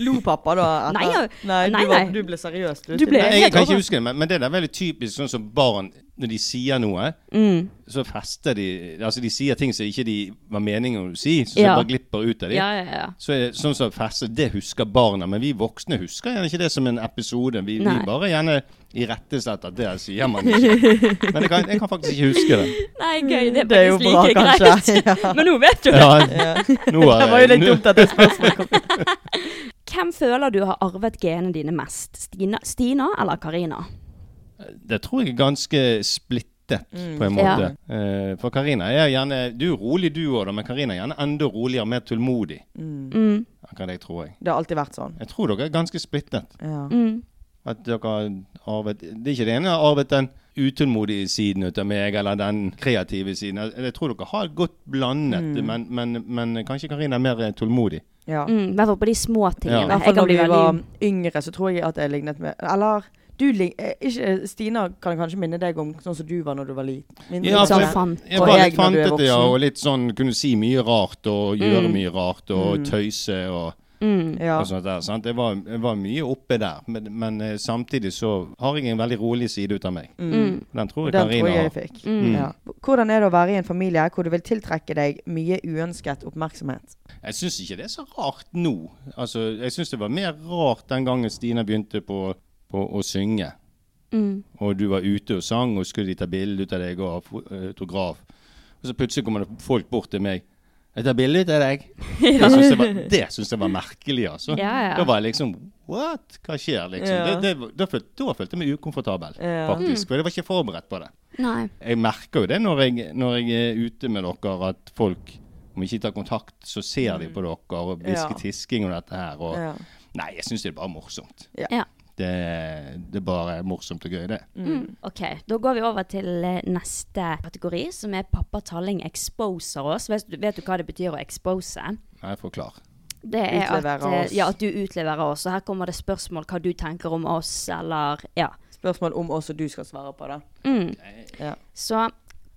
Speaker 2: Lo pappa da? Etter?
Speaker 1: Nei, ja. Nei,
Speaker 2: du, var,
Speaker 1: nei.
Speaker 2: du ble seriøs.
Speaker 1: Du ble-
Speaker 3: Nei,
Speaker 2: Stina.
Speaker 3: jeg
Speaker 1: helt
Speaker 3: kan ikke
Speaker 1: over.
Speaker 3: huske det, men, men det der er veldig typisk sånn som barn når de sier noe,
Speaker 2: Mm.
Speaker 3: så fester de Altså, de sier ting som ikke de var meningen å si, så,
Speaker 1: Ja.
Speaker 3: det bare glipper ut av dem.
Speaker 1: Ja, ja, ja.
Speaker 3: Så er det sånn som fester, det husker barna, men vi voksne husker gjerne ikke det som en episode. Vi, vi
Speaker 1: Nei.
Speaker 3: bare gjerne irettesetter at det
Speaker 2: [LAUGHS]
Speaker 3: sier man ikke. Men jeg kan, jeg kan faktisk ikke huske det.
Speaker 1: Nei, gøy. Det er,
Speaker 2: Mm, Det er jo
Speaker 1: faktisk
Speaker 2: bra,
Speaker 1: like [LAUGHS]
Speaker 2: kanskje.
Speaker 1: greit. Men nå vet du det.
Speaker 3: Ja,
Speaker 2: [LAUGHS]
Speaker 3: nå
Speaker 2: Det var jo litt dumt at det spørsmålet kom.
Speaker 1: Hvem føler du har arvet genene dine mest? Stina, Stina eller Karina?
Speaker 3: Det tror jeg er ganske splittet, på en måte. Eh, for Karina er gjerne Du er rolig du òg, men Karina er gjerne enda roligere, mer tålmodig.
Speaker 1: Mm,
Speaker 3: Akkurat det tror jeg.
Speaker 2: Det har alltid vært sånn.
Speaker 3: Jeg tror dere er ganske splittet.
Speaker 2: Ja.
Speaker 1: mm,
Speaker 3: At dere har arvet Det er ikke det ene jeg har arvet den utålmodige siden ut av meg, eller den kreative siden. Jeg- Jeg tror dere har godt blandet,
Speaker 2: Mm.
Speaker 3: men, men, men kanskje Karina er mer eh, tålmodig.
Speaker 2: ja.
Speaker 1: Mm, I hvert fall på de små
Speaker 2: I
Speaker 1: tingene.
Speaker 2: hvert
Speaker 1: Jeg kan
Speaker 2: fall når
Speaker 1: bli
Speaker 2: vi var
Speaker 1: veldig
Speaker 2: yngre, så tror jeg at jeg lignet med Eller du lig... eh, Ikke, Stina kan kanskje minne deg om sånn som du var når du var liten. Min-
Speaker 3: Ja,
Speaker 2: sånn
Speaker 3: for-
Speaker 2: fan-
Speaker 3: Jeg
Speaker 2: og
Speaker 3: var litt
Speaker 2: jeg når du er
Speaker 3: fantete, ja,
Speaker 2: voksen. Mm.
Speaker 3: og litt sånn kunne si mye rart, og gjøre mye rart, og tøyse og
Speaker 2: ja.
Speaker 3: og sånt der, sant? Jeg, var, jeg var mye oppe der, men, men eh, samtidig så har jeg en veldig rolig side ut av meg. Den tror jeg
Speaker 2: Mm. Den tror
Speaker 3: Karina
Speaker 2: jeg jeg
Speaker 3: har.
Speaker 2: fikk.
Speaker 1: Mm.
Speaker 2: Ja. Hvordan er det å være i en familie hvor du vil tiltrekke deg mye uønsket oppmerksomhet?
Speaker 3: Jeg syns ikke det er så rart nå. Altså, jeg syns det var mer rart den gangen Stina begynte på, på å synge. Og du var ute og sang, og skulle de ta bilde ut av deg og ha fo- eh, autograf. Og så plutselig kommer det folk bort til meg. 'Jeg tar bilde av deg.' Det syns jeg, var- det syns jeg var merkelig, altså.
Speaker 1: Ja, ja.
Speaker 3: Da var jeg liksom What? Hva skjer, liksom?
Speaker 2: Ja.
Speaker 3: Det, det, da, følte, da følte jeg meg ukomfortabel,
Speaker 2: Ja.
Speaker 3: faktisk. For jeg var ikke forberedt på det.
Speaker 1: Nei.
Speaker 3: Jeg merker jo det når jeg, når jeg er ute med dere, at folk om ikke tar kontakt, så ser de på dere og
Speaker 2: Mm. Ja.
Speaker 3: hvisker tisking og dette her. Og
Speaker 2: Ja.
Speaker 3: Nei, jeg syns det er bare morsomt.
Speaker 1: Ja.
Speaker 3: Det, det er bare morsomt og gøy, det.
Speaker 2: Mm.
Speaker 1: Ok, da går vi over til eh, neste kategori, som er Pappa Talling exposer oss. Vet, du- vet du hva det betyr å expose?
Speaker 3: Nei, forklar.
Speaker 1: Det er at,
Speaker 2: Utlevere
Speaker 1: eh,
Speaker 2: oss.
Speaker 1: ja, at du utleverer oss. Og her kommer det spørsmål hva du tenker om oss, eller ja.
Speaker 2: Spørsmål om også du skal svare på det.
Speaker 1: Så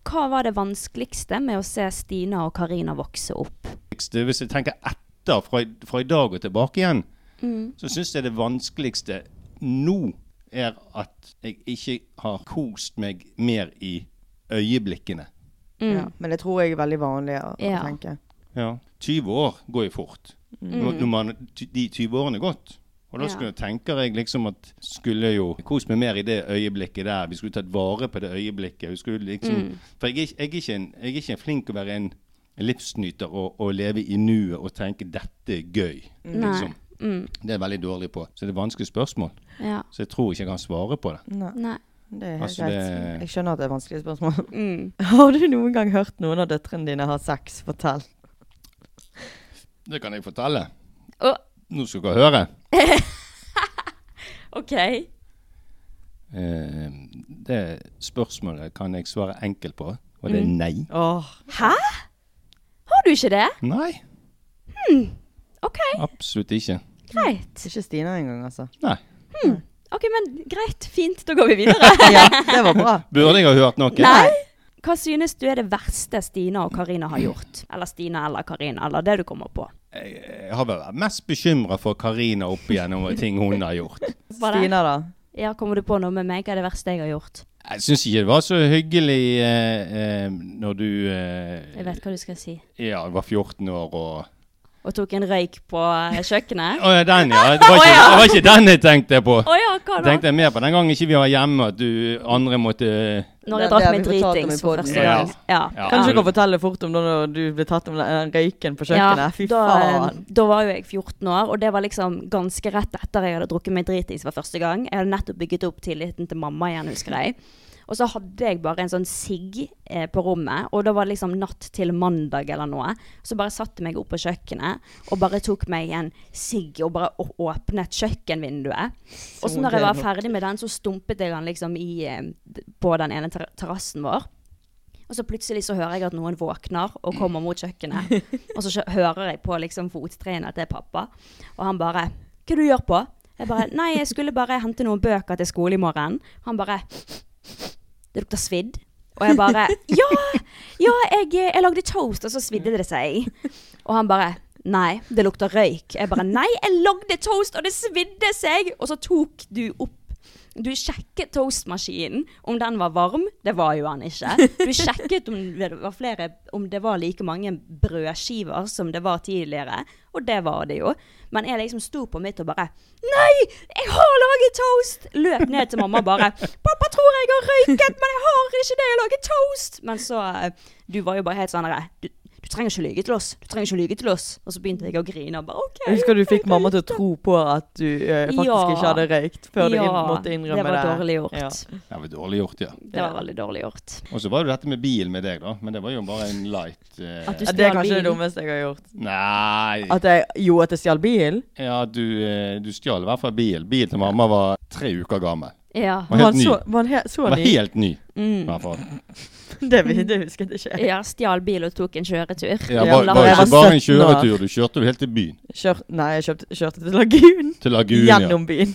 Speaker 1: hva var det vanskeligste med å se Stina og Karina vokse opp?
Speaker 3: vanskeligste, hvis jeg tenker etter,
Speaker 2: Mm.
Speaker 3: fra, i- fra i dag og tilbake igjen, så syns jeg det vanskeligste nå er at jeg ikke har kost meg mer i øyeblikkene.
Speaker 1: Mm.
Speaker 2: Ja, men det tror jeg er veldig vanlig å å
Speaker 1: Ja.
Speaker 2: tenke.
Speaker 3: 20 år går jo fort. Når, når man, ty- de 20 årene er gått. Og da
Speaker 1: Mm. Ja.
Speaker 3: skulle, tenker jeg liksom at skulle jo kost meg mer i det øyeblikket der. Vi skulle tatt vare på det øyeblikket. Vi skulle liksom,
Speaker 1: Mm.
Speaker 3: For jeg, er ikke- jeg, er ikke en, jeg er ikke en flink til å være en livsnyter og, og leve i nuet og tenke 'dette er gøy'.
Speaker 1: Mm.
Speaker 3: Liksom. Det er jeg veldig dårlig på. Så det er vanskelige spørsmål.
Speaker 1: Ja.
Speaker 3: Så jeg tror ikke jeg kan svare på det.
Speaker 1: Nei.
Speaker 2: Det er helt
Speaker 3: Altså,
Speaker 2: greit.
Speaker 3: det-
Speaker 2: Jeg skjønner at det er vanskelige spørsmål.
Speaker 1: [LAUGHS] Mm.
Speaker 2: [LAUGHS] Har du noen gang hørt noen av døtrene dine ha sex? Fortell.
Speaker 3: Det kan jeg fortelle.
Speaker 1: Å,
Speaker 3: Nå skal dere høre.
Speaker 1: OK.
Speaker 3: Eh, det spørsmålet kan jeg svare enkelt på, og det er
Speaker 1: Mm.
Speaker 3: nei.
Speaker 2: Åh,
Speaker 1: Har du ikke det?
Speaker 3: Nei,
Speaker 1: Hmm, OK,
Speaker 3: absolutt ikke.
Speaker 1: greit.
Speaker 2: ikke Stina engang, altså. [LAUGHS]
Speaker 3: Nei.
Speaker 1: Ok, men greit. Fint, da går vi videre. [LAUGHS]
Speaker 2: Ja, det var bra.
Speaker 3: Burde jeg ha hørt noe?
Speaker 1: Nei. Hva synes du er det verste Stina og Karina har gjort? Eller Stina eller Karina, eller det du kommer på.
Speaker 3: Jeg, jeg har vel vært mest bekymra for Karina opp igjennom og ting hun har gjort.
Speaker 1: Var det?
Speaker 2: Stina, da?
Speaker 1: Ja, Kommer du på noe med meg? Hva er det verste jeg har gjort?
Speaker 3: Jeg syns ikke det var så hyggelig eh, eh, når du eh,
Speaker 1: Jeg vet hva du skal si.
Speaker 3: Ja, du var 14 år og
Speaker 1: Og tok en røyk på eh, kjøkkenet?
Speaker 3: Å ja, den, ja. Det var ikke, det var ikke den jeg tenkte på.
Speaker 1: Å ja, hva da?
Speaker 3: Tenkte jeg mer på den gangen ikke vi var hjemme, at du andre måtte eh,
Speaker 1: Når jeg
Speaker 2: Det- det
Speaker 1: drakk
Speaker 2: har
Speaker 1: meg
Speaker 2: vi fortalt om i
Speaker 1: dritings for
Speaker 2: podden.
Speaker 1: første
Speaker 3: Ja.
Speaker 1: gang. Ja.
Speaker 3: Ja.
Speaker 2: Kan du ikke fortelle fort om da når du ble tatt om den røyken på kjøkkenet? Fy
Speaker 1: da,
Speaker 2: faen.
Speaker 1: Da var jo jeg 14 år, og det var liksom ganske rett etter jeg hadde drukket meg dritings for første gang. Jeg hadde nettopp bygget opp tilliten til mamma igjen, husker jeg. Og så hadde jeg bare en sånn sigg eh, på rommet, og da var det liksom natt til mandag eller noe. Så bare satte jeg meg opp på kjøkkenet og bare tok meg en sigg og bare å- åpnet kjøkkenvinduet. Og så når jeg var ferdig med den, så stumpet jeg den liksom i, eh, d- på den ene ter terrassen vår. Og så plutselig så hører jeg at noen våkner og kommer mot kjøkkenet. Og så skjø- hører jeg på liksom fottreene at det er pappa. Og han bare 'Hva du gjør på?' Jeg bare 'Nei, jeg skulle bare hente noen bøker til skole i morgen'. Han bare 'Det lukter svidd'. Og jeg bare 'Ja, ja jeg, eh, jeg lagde toast, og så svidde det seg'. Og han bare 'Nei, det lukter røyk'. Jeg bare 'Nei, jeg lagde toast, og det svidde seg'. Og så tok du opp du sjekket toastmaskinen om den var varm. Det var jo han
Speaker 2: [LAUGHS]
Speaker 1: ikke. Du sjekket om det var, flere, om det var like mange brødskiver som det var tidligere, og det var det jo. Men jeg liksom sto på mitt og bare Nei, jeg har laget toast! Løp ned til mamma og bare Pappa tror jeg har røyket, men jeg har ikke det, jeg lager toast! Men så eh, Du var jo bare helt sånn derre du, du trenger ikke å lyge til oss. Du trenger ikke å lyge til oss. Og så begynte jeg å grine og bare OK.
Speaker 2: Jeg husker du fikk mamma til å tro på at du eh, faktisk
Speaker 1: Ja.
Speaker 2: ikke hadde røykt, før du inn,
Speaker 1: Ja,
Speaker 2: måtte innrømme det.
Speaker 1: Det var dårlig gjort.
Speaker 2: Ja.
Speaker 3: Det var dårlig gjort, ja.
Speaker 1: Det var veldig dårlig gjort.
Speaker 3: Og så var det jo dette med bil med deg, da. Men det var jo bare en light eh,
Speaker 1: At du
Speaker 2: Ja, Det er
Speaker 1: stjal
Speaker 2: kanskje det
Speaker 1: bilen.
Speaker 2: dummeste jeg har gjort.
Speaker 3: Nei
Speaker 2: At jeg, jo, at jeg stjal bilen?
Speaker 3: Ja, du, eh, du stjal i hvert fall bil. Bilen til mamma var tre uker gammel.
Speaker 1: Ja. Mm.
Speaker 3: Var helt
Speaker 2: han
Speaker 3: ny.
Speaker 2: så, var han he så
Speaker 3: Den var
Speaker 2: ny?
Speaker 3: helt ny. I hvert fall.
Speaker 2: [LAUGHS] Det, vi- det husket jeg ikke.
Speaker 1: Ja, stjal bil og tok en kjøretur.
Speaker 3: Ja,
Speaker 2: Ja,
Speaker 3: var,
Speaker 2: la-
Speaker 3: var
Speaker 2: jeg
Speaker 3: ikke
Speaker 2: var
Speaker 3: bare en
Speaker 2: 17 år.
Speaker 3: kjøretur, du kjørte jo helt til byen.
Speaker 2: Kjør, nei, jeg kjøpte, kjørte til Lagun.
Speaker 3: Til Lagunen. Ja.
Speaker 2: Gjennom byen.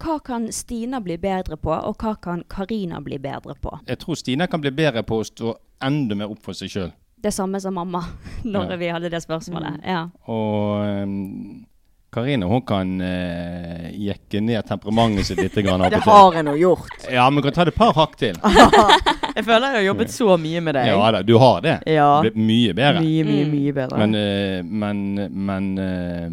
Speaker 1: Hva kan Stina bli bedre på, og hva kan Karina bli bedre på?
Speaker 3: Jeg tror Stina kan bli bedre på å stå enda mer opp for seg sjøl.
Speaker 1: Det samme som mamma, [LAUGHS] når
Speaker 3: Ja.
Speaker 1: vi hadde det spørsmålet. Ja.
Speaker 3: Og ehm, Karine hun kan eh, jekke ned temperamentet sitt litt. Grann, av og
Speaker 2: [LAUGHS] Det
Speaker 3: til.
Speaker 2: har jeg nå gjort.
Speaker 3: Ja, men kan ta det et par hakk til.
Speaker 2: [LAUGHS] Jeg føler jeg har jobbet så mye med deg.
Speaker 3: Ja da, du har det.
Speaker 2: Ja.
Speaker 3: Det er mye bedre.
Speaker 2: Mye, mye,
Speaker 1: Mm.
Speaker 2: mye bedre.
Speaker 3: Men,
Speaker 2: Men,
Speaker 3: eh, men, men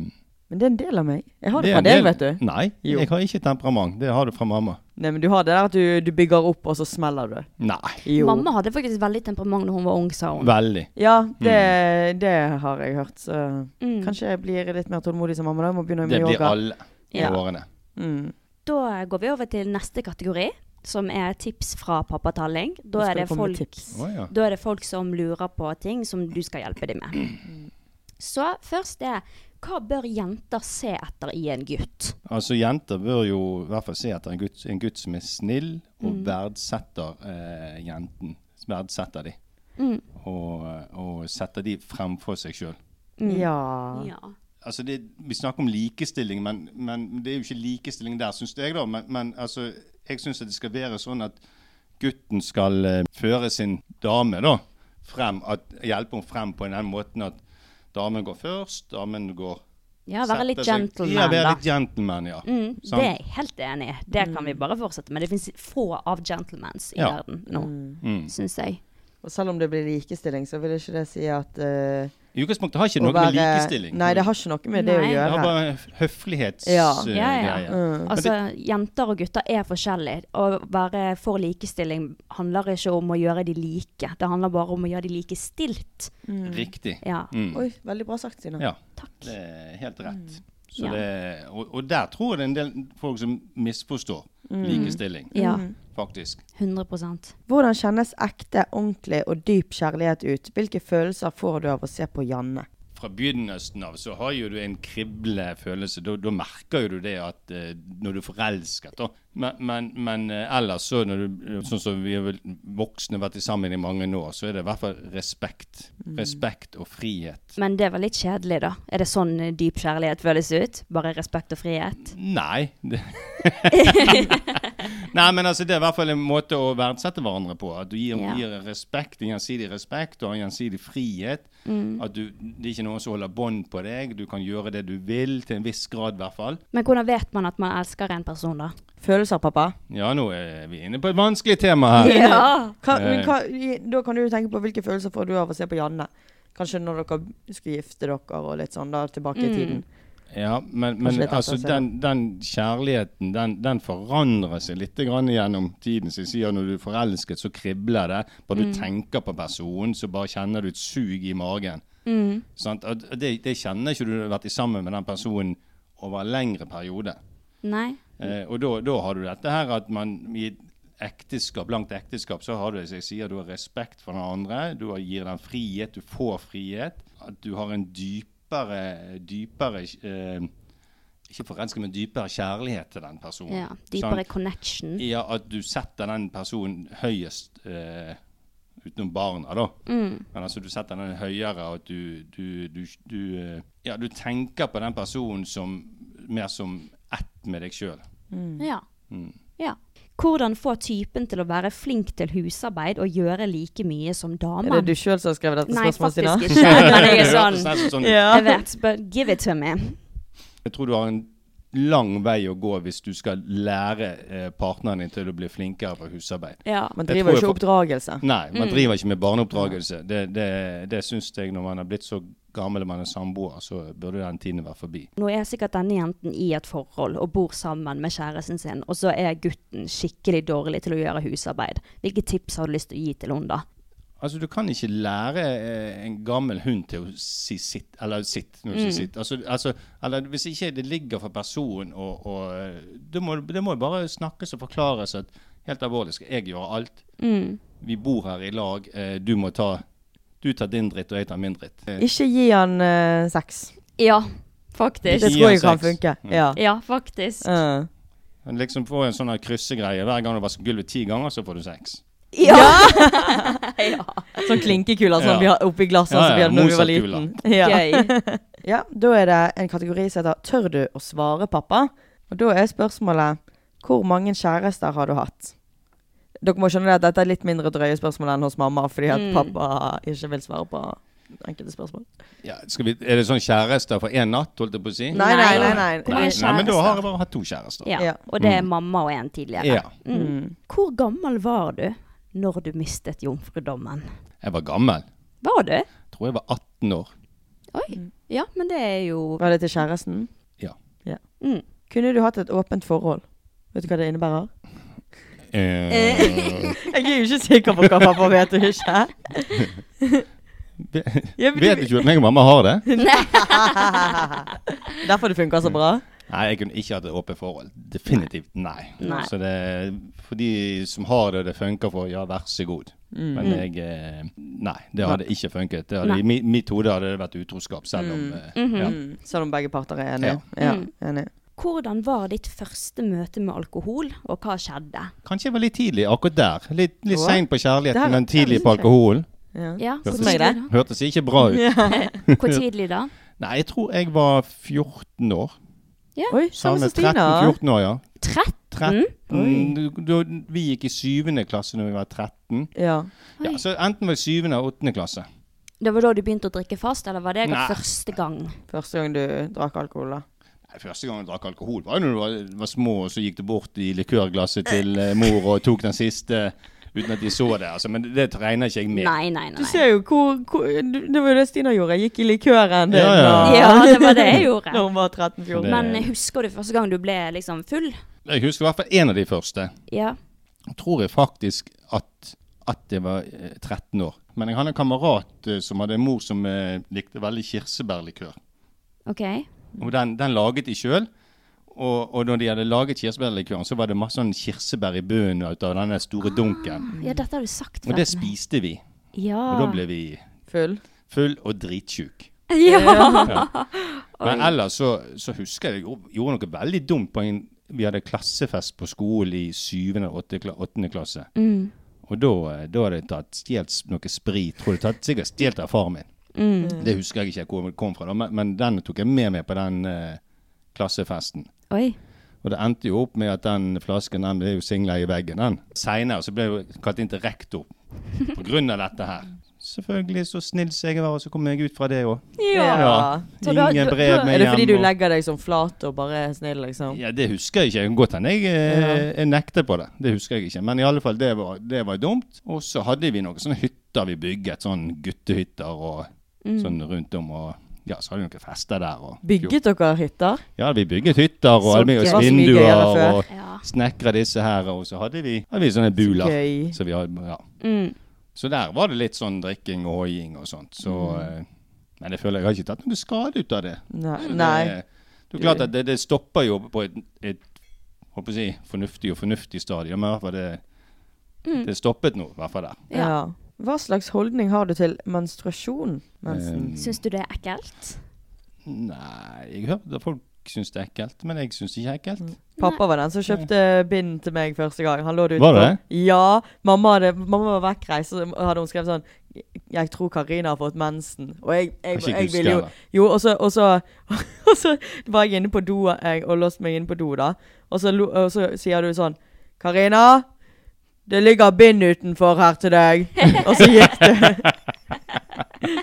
Speaker 3: eh,
Speaker 2: det er en del av meg. Jeg har det,
Speaker 3: er
Speaker 2: fra
Speaker 3: en
Speaker 2: deg,
Speaker 3: del-
Speaker 2: vet du.
Speaker 3: Nei,
Speaker 2: Jo.
Speaker 3: jeg har ikke temperament. Det har du fra mamma.
Speaker 2: Nei, men du har det der at du, du bygger opp, og så smeller du.
Speaker 3: Nei.
Speaker 2: Jo.
Speaker 1: Mamma hadde faktisk veldig temperament da hun var ung, sa hun.
Speaker 3: Veldig.
Speaker 2: Ja, det,
Speaker 3: Mm.
Speaker 2: det har jeg hørt, så
Speaker 1: Mm.
Speaker 2: kanskje jeg blir litt mer tålmodig som mamma. da Jeg må begynne
Speaker 3: Det
Speaker 2: med
Speaker 3: blir
Speaker 2: yoga.
Speaker 3: alle
Speaker 1: Ja.
Speaker 3: årene.
Speaker 2: Mm.
Speaker 1: Da går vi over til neste kategori, som er tips fra pappa Talling.
Speaker 2: Nå
Speaker 1: Da
Speaker 2: skal
Speaker 1: er det
Speaker 2: det komme
Speaker 1: folk
Speaker 2: tips.
Speaker 3: Å, ja.
Speaker 1: Da er det folk som lurer på ting som du skal hjelpe dem med. Så først er hva bør jenter se etter i en gutt?
Speaker 3: Altså Jenter bør jo i hvert fall se etter en gutt, en gutt som er snill og verdsetter eh, jenten. Verdsetter de. Og, eh, og setter de fremfor seg sjøl.
Speaker 2: Ja.
Speaker 1: Mm. Ja.
Speaker 3: Altså det, vi snakker om likestilling, men, men det er jo ikke likestilling der, syns jeg. da. Men, men altså, jeg syns det skal være sånn at gutten skal eh, føre sin dame da, frem. At, hjelpe henne frem på den måten at damen går først, damen går
Speaker 1: Ja, være litt
Speaker 3: Sette seg-
Speaker 1: gentleman,
Speaker 3: Ja,
Speaker 1: da.
Speaker 3: være litt gentleman, sånn. ja.
Speaker 1: Mm,
Speaker 3: Sant.
Speaker 1: det er jeg helt enig i. Det kan vi bare fortsette med. Det fins få av gentlemans i
Speaker 3: Ja.
Speaker 1: verden nå,
Speaker 3: Mm.
Speaker 1: syns jeg.
Speaker 2: Og selv om det blir likestilling, så vil ikke det si at eh,
Speaker 3: I utgangspunktet har ikke
Speaker 2: å
Speaker 3: noe med
Speaker 2: være-
Speaker 3: likestilling. Mm.
Speaker 2: Nei, det har ikke noe med det
Speaker 1: Nei.
Speaker 2: å
Speaker 3: Det
Speaker 2: gjøre.
Speaker 3: har bare høflighets...
Speaker 2: Ja.
Speaker 3: uh,
Speaker 1: Ja, ja.
Speaker 3: greier.
Speaker 1: Altså, jenter og gutter er forskjellige. Å være for likestilling handler ikke om å gjøre de like. Det handler bare om å gjøre de like stilt.
Speaker 3: Riktig.
Speaker 1: Ja.
Speaker 3: Mm.
Speaker 2: Oi, veldig bra sagt, Sina.
Speaker 3: Ja,
Speaker 1: Takk. Mm.
Speaker 3: det er helt rett. Så
Speaker 1: Ja.
Speaker 3: det, og, og der tror jeg det er en del folk som misforstår
Speaker 1: Mm.
Speaker 3: likestilling,
Speaker 1: Ja.
Speaker 3: faktisk.
Speaker 1: 100
Speaker 2: Hvordan kjennes ekte, ordentlig og dyp kjærlighet ut? Hvilke følelser får du av å se på Janne?
Speaker 3: Fra begynnelsen av så har jo du en krible følelse. Da, da merker jo du det at eh, når du er forelsket, da. Men, men, men eh, ellers så, når du, sånn som vi er vel voksne vært sammen i mange år, så er det i hvert fall respekt. Respekt og frihet.
Speaker 1: Men det var litt kjedelig, da. Er det sånn eh, dyp kjærlighet føles ut? Bare respekt og frihet?
Speaker 3: Mm. Nei. Det [LAUGHS] Nei, men altså, det er i hvert fall en måte å verdsette hverandre på. At du gir,
Speaker 1: Ja.
Speaker 3: gir respekt, en gjensidig respekt og en gjensidig frihet. At du, det er ikke noen som holder bånd på deg. Du kan gjøre det du vil, til en viss grad i hvert fall.
Speaker 1: Men hvordan vet man at man elsker en person, da?
Speaker 2: Følelser, pappa?
Speaker 3: Ja, nå er vi inne på et vanskelig tema her.
Speaker 1: Ja!
Speaker 3: Eh.
Speaker 2: Hva, men hva, da kan du jo tenke på hvilke følelser får du av å se på Janne? Kanskje når dere skulle gifte dere og litt sånn da, tilbake
Speaker 1: Mm.
Speaker 2: i tiden.
Speaker 3: Ja, men,
Speaker 2: Kanskje
Speaker 3: men
Speaker 2: litt
Speaker 3: altså,
Speaker 2: annerledes,
Speaker 3: den, den kjærligheten, den, den forandrer seg litt grann gjennom tiden. Så jeg sier når du er forelsket, så kribler det. Bare du tenker på personen, så bare kjenner du et sug i magen. Sant? Og det, det kjenner ikke du når du har vært i sammen med den personen over en lengre periode.
Speaker 1: Nei.
Speaker 3: Eh, og da da har du dette her at man i et ekteskap, langt ekteskap så har du det som jeg sier, du har respekt for den andre, du har- gir den frihet, du får frihet. At du har en dypere, dypere eh, Ikke forelsket, men dypere kjærlighet til den personen.
Speaker 1: Ja. Dypere
Speaker 3: Sant?
Speaker 1: connection.
Speaker 3: Ja, at du setter den personen høyest eh, utenom barna, da.
Speaker 1: Mm.
Speaker 3: Men altså, du setter den høyere, og at du, du, du, du eh, Ja, du tenker på den personen som mer som ett med deg sjøl.
Speaker 1: Ja. ja. Hvordan få typen til å være flink til husarbeid og gjøre like mye som damen?
Speaker 2: Er det du sjøl som har skrevet dette
Speaker 1: Nei,
Speaker 2: spørsmålet, Sina?
Speaker 1: faktisk ikke. Men jeg er
Speaker 3: [LAUGHS] Det
Speaker 1: sånn
Speaker 3: hørtes nesten sånn ut.
Speaker 2: Ja.
Speaker 1: Jeg vet, but give it to me.
Speaker 3: Jeg tror du har en lang vei å gå hvis du skal lære eh, partneren din til å bli flinkere på husarbeid.
Speaker 1: Ja.
Speaker 2: Man
Speaker 3: Jeg
Speaker 2: driver jo
Speaker 3: tror jeg
Speaker 2: ikke
Speaker 3: får-
Speaker 2: oppdragelse.
Speaker 3: Nei, man driver ikke med barneoppdragelse. Det, det, det syns jeg når man har blitt så gammel og man er samboer, så burde den tiden være forbi.
Speaker 1: Nå er sikkert denne jenten i et forhold og bor sammen med kjæresten sin, og så er gutten skikkelig dårlig til å gjøre husarbeid. Hvilke tips har du lyst til å gi til henne da?
Speaker 3: Altså, du kan ikke lære eh, en gammel hund til å si sitt, eller sitt, når du
Speaker 2: Mm.
Speaker 3: sier sitt. Altså, altså, eller hvis ikke det ligger for personen, og, og eh, det, må, det må jo bare snakkes og forklares at helt alvorlig skal jeg gjøre alt.
Speaker 2: Mm.
Speaker 3: Vi bor her i lag, eh, du må ta, du tar din dritt og jeg tar min dritt. Eh,
Speaker 2: Ikke gi han eh, sex.
Speaker 1: Ja,
Speaker 2: Det
Speaker 1: faktisk.
Speaker 3: Ikke- gi
Speaker 2: tror
Speaker 3: han
Speaker 2: jeg kan
Speaker 3: sex. Mm.
Speaker 2: funke. Ja.
Speaker 1: Ja, faktisk.
Speaker 2: Eh.
Speaker 3: Men liksom få en sånn her kryssegreie, hver gang du vasker gulvet ti ganger så får du sex.
Speaker 1: Ja! [LAUGHS] ja.
Speaker 2: Sånn klinkekuler som
Speaker 3: Ja.
Speaker 2: vi har oppi glassene
Speaker 3: Ja,
Speaker 2: som vi
Speaker 3: ja,
Speaker 2: hadde da vi var
Speaker 3: Mozart-kuler.
Speaker 2: liten. Ja.
Speaker 1: Gøy.
Speaker 2: ja, da er det en kategori som heter 'Tør du å svare, pappa?' Og da er spørsmålet 'Hvor mange kjærester har du hatt?' Dere må skjønne at dette er litt mindre drøye spørsmål enn hos mamma, fordi at pappa ikke vil svare på enkelte spørsmål.
Speaker 3: Ja, skal vi, er det sånn kjærester for én natt, holdt jeg på å si?
Speaker 2: Nei, nei, nei. nei.
Speaker 1: Hvor mange
Speaker 3: Nei, men da har jeg bare hatt to kjærester.
Speaker 1: Ja,
Speaker 2: Ja.
Speaker 1: og det er mamma og en tidligere. Mm.
Speaker 3: ja.
Speaker 2: Mm.
Speaker 1: Hvor gammel var du når du mistet jomfrudommen?
Speaker 3: Jeg var gammel.
Speaker 1: Var du?
Speaker 3: Tror jeg var 18 år.
Speaker 1: Oi. Ja, men det er jo
Speaker 2: Var det til kjæresten?
Speaker 3: Ja.
Speaker 1: mm.
Speaker 2: Kunne du hatt et åpent forhold? Vet du hva det innebærer?
Speaker 3: Eh,
Speaker 2: Jeg er jo ikke sikker på hva pappa vet og [LAUGHS] ikke. Ja, men
Speaker 3: vet
Speaker 2: du-
Speaker 3: ikke hvordan jeg og mamma har det?
Speaker 2: Derfor det funker så bra.
Speaker 3: Nei, jeg kunne ikke hatt et åpent forhold. Definitivt nei.
Speaker 1: Nei.
Speaker 3: Så det, for de som har det, det funker for, ja, vær så god. Men jeg eh, Nei, det hadde ikke funket. Det hadde,
Speaker 1: Nei.
Speaker 3: I mi- mitt hode hadde det vært utroskap, selv om eh, ja.
Speaker 2: Selv om begge parter er enige. Mm. Ja, enig.
Speaker 1: Hvordan var ditt første møte med alkohol, og hva skjedde?
Speaker 3: Kanskje jeg var litt tidlig akkurat der. Litt, litt
Speaker 2: Åh.
Speaker 3: sein på
Speaker 2: Det her-
Speaker 3: kjærligheten, men tidlig
Speaker 2: det
Speaker 3: på
Speaker 2: synes jeg.
Speaker 3: alkoholen.
Speaker 2: Ja.
Speaker 1: Ja,
Speaker 3: Hørtes
Speaker 1: hvor tidlig
Speaker 2: det.
Speaker 1: da?
Speaker 3: Hørtes ikke bra ut.
Speaker 1: Hvor tidlig [LAUGHS] da?
Speaker 3: Nei, jeg tror jeg var 14 år.
Speaker 2: Oi, samme som Stina.
Speaker 3: 13-14 år, ja.
Speaker 1: 13?
Speaker 3: 13, Mm, du, du, vi gikk i syvende klasse når vi var 13.
Speaker 2: Ja.
Speaker 3: Ja, så enten var det syvende eller åttende klasse.
Speaker 1: Det var da du begynte å drikke fast, eller var det
Speaker 3: Nei.
Speaker 1: første gang?
Speaker 2: Første gang du drakk alkohol, da.
Speaker 3: Nei, Første gang jeg drakk alkohol var jo da du var, var små, og så gikk du bort i likørglasset til eh, mor og tok den siste uten at de så det. Altså, men det regner ikke jeg med.
Speaker 1: Nei, nei,
Speaker 2: Du
Speaker 1: nei.
Speaker 2: ser jo hvor, hvor du, Det var jo det Stina gjorde. Jeg gikk i likøren din.
Speaker 3: Ja, ja.
Speaker 2: og-
Speaker 1: Ja, det var
Speaker 2: [LAUGHS]
Speaker 1: det jeg gjorde.
Speaker 2: Når hun var 13-14.
Speaker 3: Det-
Speaker 1: Men eh, husker du første gang du ble liksom full?
Speaker 3: Jeg husker i hvert fall en av de første.
Speaker 1: Ja.
Speaker 3: tror jeg faktisk at, at jeg var eh, 13 år. Men jeg hadde en kamerat eh, som hadde en mor som eh, likte veldig kirsebærlikør.
Speaker 1: OK.
Speaker 3: Og den, den laget de sjøl. Og, og når de hadde laget kirsebærlikøren, så var det masse sånn kirsebær i bunnen ut av denne store dunken.
Speaker 1: Ja, dette har du sagt
Speaker 3: Og
Speaker 1: før.
Speaker 3: det spiste vi.
Speaker 1: Ja.
Speaker 3: Og da ble vi
Speaker 2: Full.
Speaker 3: full og dritsjuk.
Speaker 1: [LAUGHS] Ja.
Speaker 3: Men ellers så, så husker jeg jeg gjorde- gjorde noe veldig dumt på en Vi hadde klassefest på skolen i 7. og 8. kla- 8. klasse. Og da, eh, da hadde jeg tatt stjålet s- noe sprit. Tror jeg tatt, sikkert stjålet av faren min.
Speaker 1: Mm.
Speaker 3: Det husker jeg ikke hvor det kom fra, da, men, men den tok jeg med meg på den eh, klassefesten.
Speaker 1: Oi.
Speaker 3: Og det endte jo opp med at den flasken den ble jo singla i veggen. den. Seinere så ble jeg jo kalt inn til rektor på grunn av dette her. Selvfølgelig så snill som jeg var, og så kom jeg ut fra det òg.
Speaker 2: Ja.
Speaker 1: Så da-
Speaker 3: Ingen
Speaker 1: da-
Speaker 3: brev
Speaker 1: da-
Speaker 3: med
Speaker 2: Er det fordi
Speaker 3: hjem.
Speaker 2: du
Speaker 3: og-
Speaker 2: legger deg som flat og bare er snill, liksom?
Speaker 3: Ja, Det husker jeg ikke. Jeg kan Godt hende jeg, eh, jeg nekter på det. Det husker jeg ikke. Men i alle fall, det var, det var dumt. Og så hadde vi noen sånne hytter vi bygget, sånn guttehytter og sånn rundt om. og ja, så hadde vi noen fester der. Og,
Speaker 2: Mm. Bygget dere hytter?
Speaker 3: Ja, vi bygget hytter og
Speaker 2: Så
Speaker 3: hadde med
Speaker 2: gøy.
Speaker 3: oss
Speaker 2: Det var så mye gøyere
Speaker 3: vinduer
Speaker 2: før.
Speaker 3: og
Speaker 1: Ja.
Speaker 3: snekra disse her. Og så hadde vi, hadde vi sånne buler.
Speaker 2: Gøy.
Speaker 3: Så, vi hadde, ja.
Speaker 1: Mm.
Speaker 3: så der var det litt sånn drikking og hoiing og sånt. Så, eh, Men jeg føler jeg har ikke tatt noe skade ut av det.
Speaker 2: Nei.
Speaker 1: Mm.
Speaker 3: Så
Speaker 2: Nei.
Speaker 3: Det, det er klart at det, det stopper jo på et, et håper jeg å si, fornuftig og fornuftig stadium. Men i hvert fall det, det stoppet nå, i hvert fall der.
Speaker 1: Ja.
Speaker 2: Ja. Hva slags holdning har du til menstruasjon? Mensen?
Speaker 1: Syns du det er ekkelt?
Speaker 3: Ehm, Nei, jeg hørte at folk syns det er ekkelt, men jeg syns ikke det er ekkelt.
Speaker 2: Pappa var den som kjøpte bind til meg første gang. Han lå det
Speaker 3: Var
Speaker 2: utenfor.
Speaker 3: det?
Speaker 2: Ja. Mamma, hadde, mamma var vekkreist, så hadde hun skrevet sånn Jeg tror Karina har fått mensen. Og jeg, jeg,
Speaker 3: Kanskje
Speaker 2: jeg,
Speaker 3: ikke husker
Speaker 2: ville jo
Speaker 3: det.
Speaker 2: Jo, og så, og, så, [LAUGHS] og så var jeg inne på do jeg, og låste meg inne på do, da. Og så, lo- og så sier du sånn Karina, det ligger bind utenfor her
Speaker 1: [LAUGHS]
Speaker 2: til deg. Og så gikk du.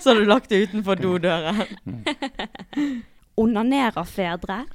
Speaker 2: så hadde du lagt det utenfor dodøren.
Speaker 1: Onanerer fedre?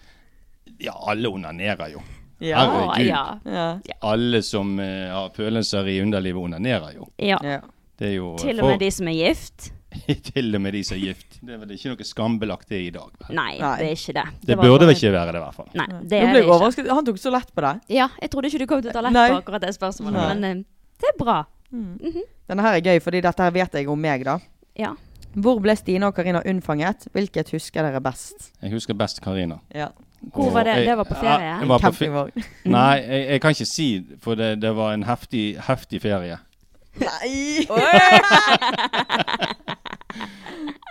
Speaker 3: Ja, alle onanerer jo.
Speaker 2: Ja.
Speaker 3: Herregud.
Speaker 1: ja.
Speaker 2: Ja.
Speaker 3: Alle som eh, har følelser i underlivet, onanerer jo.
Speaker 1: ja.
Speaker 2: ja.
Speaker 3: Det er jo eh,
Speaker 1: Til og med de som er gift?
Speaker 3: de [LAUGHS] Til og med de som er gift. Det er vel ikke noe skambelagt det i dag. vel?
Speaker 1: Nei,
Speaker 2: Nei.
Speaker 1: det er ikke det.
Speaker 3: Det
Speaker 1: var
Speaker 3: burde
Speaker 1: bare-
Speaker 3: vel ikke være det, i hvert fall.
Speaker 1: Nei, det
Speaker 2: Nå
Speaker 1: er
Speaker 2: ble
Speaker 1: det
Speaker 2: jeg
Speaker 1: ikke.
Speaker 2: overrasket. Han tok så lett på det.
Speaker 1: Ja, jeg trodde ikke du kom til å ta lett
Speaker 2: Nei.
Speaker 1: på akkurat det spørsmålet,
Speaker 2: Nei.
Speaker 1: men eh, det er bra.
Speaker 2: Denne her er gøy, fordi dette her vet jeg om meg, da.
Speaker 1: Ja.
Speaker 2: Hvor ble Stine og Karina unnfanget? Hvilket husker dere best?
Speaker 3: Jeg husker best Karina.
Speaker 2: Ja.
Speaker 1: Hvor var det?
Speaker 3: Og jeg-
Speaker 1: Det var på ferie?
Speaker 3: Ja, jeg var på fe-
Speaker 2: Campingvogn.
Speaker 3: [LAUGHS] Nei, jeg, jeg kan ikke si, for det, det var en heftig, heftig ferie.
Speaker 2: [LAUGHS] Nei!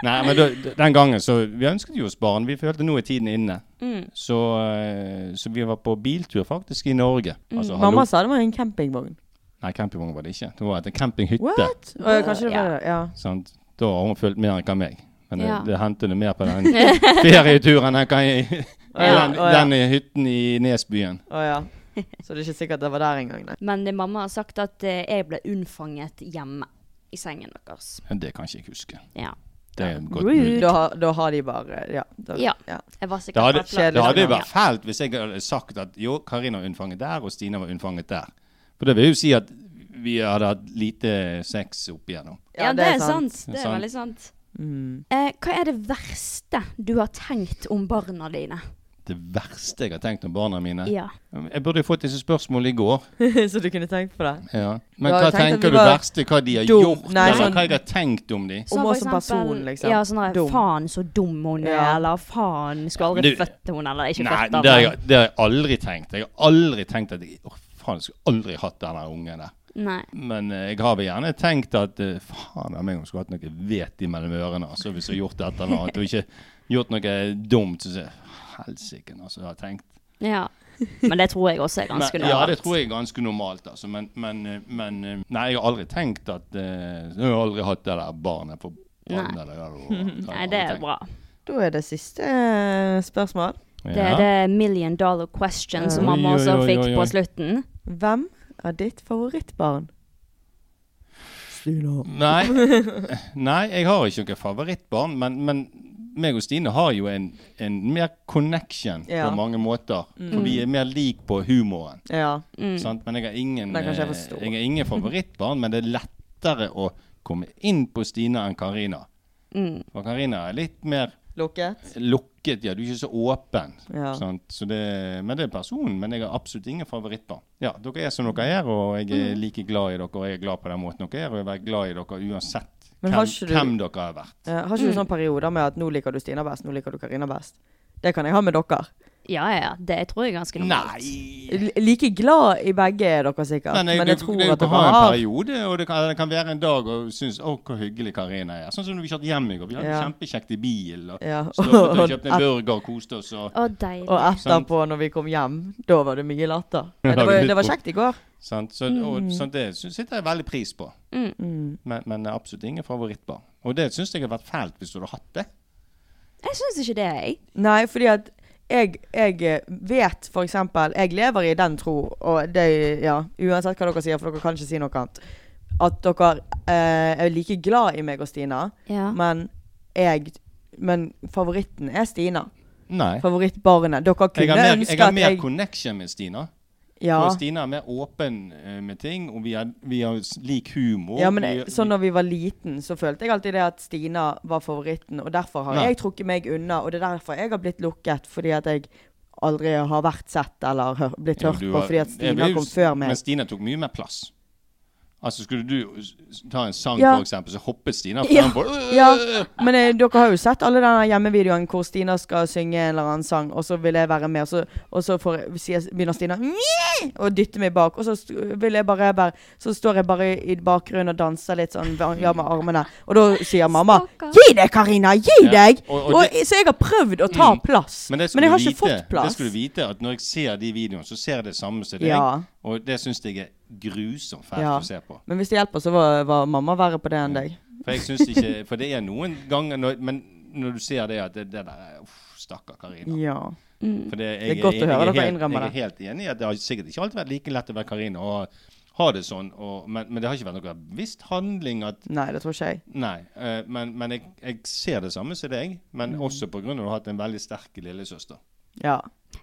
Speaker 3: Nei, men da, d- den gangen så Vi ønsket jo oss barn. Vi følte nå er tiden inne.
Speaker 1: Mm.
Speaker 3: Så, eh, så vi var på biltur faktisk i Norge.
Speaker 1: Mm.
Speaker 3: Altså, hallo-
Speaker 2: Mamma sa det var en campingvogn.
Speaker 3: Nei, campingvogn var det ikke. Det var et- en campinghytte.
Speaker 2: What? Å, ja, kanskje det var
Speaker 1: Ja.
Speaker 2: det. Ja.
Speaker 3: Sant? Da har hun følt mer enn meg. Men
Speaker 1: Ja.
Speaker 3: det, det hendte det mer på den
Speaker 2: [LAUGHS]
Speaker 3: ferieturen enn kan jeg,
Speaker 2: Ja,
Speaker 3: den,
Speaker 2: å, ja.
Speaker 3: den hytten i Nesbyen.
Speaker 2: Å ja. [LAUGHS] Så det er ikke sikkert det var der engang, nei.
Speaker 1: Men eh, mamma har sagt at eh, jeg ble unnfanget hjemme i sengen deres.
Speaker 3: Men Det kan ikke jeg huske.
Speaker 1: Ja.
Speaker 3: Det er godt
Speaker 1: Rude.
Speaker 3: mulig.
Speaker 2: Da, har- da har de bare Ja. Da,
Speaker 1: Ja.
Speaker 2: ja.
Speaker 1: Jeg var
Speaker 3: Det
Speaker 1: sikkert
Speaker 3: hadde,
Speaker 1: bare flau.
Speaker 3: det hadde jo
Speaker 2: Ja.
Speaker 3: vært fælt hvis jeg hadde sagt at jo, Karina var unnfanget der, og Stina var unnfanget der. For det vil jo si at vi hadde hatt lite sex opp igjennom.
Speaker 1: Ja, det er sant. Det
Speaker 3: Det er
Speaker 1: er
Speaker 3: sant.
Speaker 1: veldig sant.
Speaker 2: Mm. [LAUGHS]
Speaker 1: Eh, hva er det verste du har tenkt om barna dine?
Speaker 3: Det verste jeg har tenkt om barna mine
Speaker 1: Ja.
Speaker 3: Jeg burde jo fått disse spørsmålene i går.
Speaker 2: Så du kunne tenkt på det.
Speaker 3: Ja. Men
Speaker 2: Du har jo
Speaker 3: hva
Speaker 2: tenkt at vi
Speaker 3: tenker du
Speaker 2: var
Speaker 3: verste hva de har
Speaker 2: dum.
Speaker 3: gjort,
Speaker 2: Nei,
Speaker 3: eller
Speaker 2: sånn-
Speaker 3: hva jeg har tenkt om de?
Speaker 2: Om
Speaker 1: for
Speaker 2: oss som person, liksom.
Speaker 1: Ja, sånn der,
Speaker 2: Dum.
Speaker 1: faen så dum hun er,
Speaker 2: Ja.
Speaker 1: eller faen skulle aldri
Speaker 3: Du-
Speaker 1: født hun, eller ikke
Speaker 3: Nei,
Speaker 1: født
Speaker 3: det har, jeg, det har jeg aldri tenkt. Jeg har aldri tenkt at jeg, Å, faen, jeg skulle aldri hatt den der ungen der.
Speaker 1: Nei.
Speaker 3: Men eh, jeg har vel gjerne tenkt at eh, faen av meg om jeg skulle hatt noe vet imellom ørene. Altså, hvis jeg har gjort et eller annet og ikke gjort noe dumt, så sier jeg helsike, altså. Jeg har tenkt.
Speaker 1: Ja. Men det tror jeg også er
Speaker 3: Men,
Speaker 1: ganske
Speaker 3: ja, det tror jeg er ganske normalt, altså. Men, men, eh, men eh, Nei, jeg har aldri tenkt at eh, Jeg har aldri hatt det der barnet på barnet.
Speaker 1: Nei. [LAUGHS]
Speaker 3: eller hva det var. har jeg
Speaker 1: Nei,
Speaker 3: aldri
Speaker 1: det er
Speaker 3: tenkt.
Speaker 1: bra.
Speaker 2: Da er det siste eh, spørsmål.
Speaker 1: Det er
Speaker 3: Ja.
Speaker 1: det million dollar question som
Speaker 3: Oi,
Speaker 1: mamma
Speaker 3: oi,
Speaker 1: også
Speaker 3: oi,
Speaker 1: fikk
Speaker 3: oi,
Speaker 1: på
Speaker 3: oi.
Speaker 1: slutten.
Speaker 2: Hvem er ditt favorittbarn? Stina. [LAUGHS]
Speaker 3: Nei, nei jeg har ikke noe favorittbarn, men, men meg og Stine har jo en, en mer connection
Speaker 2: Ja. Mm.
Speaker 3: på mange måter. For vi er mer lik på humoren.
Speaker 2: Ja.
Speaker 3: Sant? Men jeg har, ingen,
Speaker 2: Den kan ikke Mm. jeg
Speaker 3: eh,
Speaker 2: forstå.
Speaker 3: jeg har ingen favorittbarn, men det er lettere å komme inn på Stine enn Karina.
Speaker 2: Mm.
Speaker 3: For Karina er litt mer
Speaker 2: Lukket?
Speaker 3: lukket, ja, du er ikke så åpen.
Speaker 2: Ja.
Speaker 3: Sant? Så det, men det er personen. Men jeg har absolutt ingen favorittbarn. Ja, dere er som dere er, og jeg er
Speaker 2: Mm.
Speaker 3: like glad i dere, og jeg er glad på den måten dere er, og jeg vil være glad i dere uansett
Speaker 2: Men
Speaker 3: hvem,
Speaker 2: har ikke du-
Speaker 3: hvem dere har vært.
Speaker 2: Eh, har ikke du sånne perioder med at 'nå liker du Stina best', 'nå liker du Karina best'? Det kan jeg ha med dere.
Speaker 1: Ja, ja. Det tror jeg er ganske normalt.
Speaker 3: Nei!
Speaker 2: L like glad i begge er dere sikkert, men
Speaker 3: Men
Speaker 2: jeg,
Speaker 3: du,
Speaker 2: tror
Speaker 3: du, du
Speaker 2: at dere
Speaker 3: kan ha en
Speaker 2: har
Speaker 3: periode, og det kan, det kan være en dag og synes 'Å, hvor hyggelig Karina er'. Sånn som når vi kjørte hjem i går. Vi hadde
Speaker 2: Ja.
Speaker 3: det kjempekjekt i bilen. Og
Speaker 2: Ja, [LAUGHS]
Speaker 3: stoppet
Speaker 2: og-
Speaker 3: og kjøpte en burger og koste oss. Og,
Speaker 1: Å, deilig.
Speaker 2: Og
Speaker 3: Sant.
Speaker 2: etterpå, når vi kom hjem, da var det mye latter. Men det
Speaker 3: Ja,
Speaker 2: var,
Speaker 3: vi-
Speaker 2: det var kjekt i går.
Speaker 3: sant? Så,
Speaker 2: Mm.
Speaker 3: og, sånn, det sy- setter jeg veldig pris på. Men, men det er absolutt ingen favorittbarn. Og det syns jeg har vært fælt hvis du hadde hatt det.
Speaker 1: Jeg syns ikke det, jeg.
Speaker 2: Nei, fordi at jeg, jeg eh, vet for eksempel Jeg lever i den tro, og det Ja, uansett hva dere sier, for dere kan ikke si noe annet. At dere eh, er like glad i meg og Stina,
Speaker 1: Ja.
Speaker 2: men jeg Men favoritten er Stina.
Speaker 3: Nei.
Speaker 2: Favorittbarnet. Eh, Dere
Speaker 3: Jeg
Speaker 2: kunne
Speaker 3: har mer,
Speaker 2: ønske
Speaker 3: jeg har
Speaker 2: at
Speaker 3: mer
Speaker 2: jeg
Speaker 3: connection med Stina.
Speaker 2: ja.
Speaker 3: Og Stina er mer åpen eh, med ting, og vi har, vi har s- lik humor.
Speaker 2: Ja, men
Speaker 3: vi,
Speaker 2: jeg, sånn når vi var liten, så følte jeg alltid det at Stina var favoritten, og derfor har
Speaker 3: Nei.
Speaker 2: jeg trukket meg unna, og det er derfor jeg har blitt lukket, fordi at jeg aldri har vært sett eller hør, blitt
Speaker 3: Jo,
Speaker 2: hørt
Speaker 3: du
Speaker 2: på,
Speaker 3: har-
Speaker 2: fordi at
Speaker 3: jeg ble
Speaker 2: Stina
Speaker 3: jo
Speaker 2: kom
Speaker 3: s-
Speaker 2: før
Speaker 3: Men
Speaker 2: meg.
Speaker 3: Stina tok mye mer plass. Altså Skulle du s- ta en sang,
Speaker 2: Ja.
Speaker 3: for eksempel, så hoppet Stina
Speaker 1: Ja.
Speaker 3: frem på øh,
Speaker 2: Ja, men eh, dere har jo sett alle denne hjemmevideoen hvor Stina skal synge en eller annen sang, og så vil jeg være med, og så, og så får, jeg- sier, begynner Stina «Mjau!» og dytter meg bak, og så st- vil jeg bare, bare Så står jeg bare i bakgrunnen og danser litt sånn, ja, med armene, og da sier mamma
Speaker 1: Stakkar.
Speaker 2: Gi deg, Karina! Gi
Speaker 3: Ja,
Speaker 2: deg!
Speaker 3: og-
Speaker 2: Og,
Speaker 3: og det- Mm.
Speaker 2: så jeg har prøvd å ta plass, men,
Speaker 3: Men, det skulle
Speaker 2: jeg har
Speaker 3: du
Speaker 2: ikke
Speaker 3: vite,
Speaker 2: fått
Speaker 3: Det
Speaker 2: plass.
Speaker 3: skulle du vite at når jeg ser de videoene, så ser jeg det samme som deg.
Speaker 2: Ja.
Speaker 3: Og det syns jeg er grusomt fælt
Speaker 2: Ja.
Speaker 3: å se på.
Speaker 2: Men hvis det hjelper, så var, var mamma verre på det enn deg.
Speaker 3: For jeg synes ikke For det er noen ganger når, Men når du ser det at det, det der er Uff, stakkar Karina.
Speaker 2: Ja.
Speaker 3: For det, jeg,
Speaker 2: Det er godt å høre dere
Speaker 3: jeg, jeg, er helt-
Speaker 2: innrømmer
Speaker 3: jeg er helt enig i at det har sikkert ikke alltid vært like lett å være Karina og ha det sånn, og, men, men det har ikke vært noen bevisst handling at
Speaker 2: Nei, det tror ikke jeg.
Speaker 3: Nei, eh, men, men jeg, jeg ser det samme som deg, men
Speaker 2: Mm.
Speaker 3: også på grunn av at du har hatt en veldig sterk lillesøster.
Speaker 2: Ja.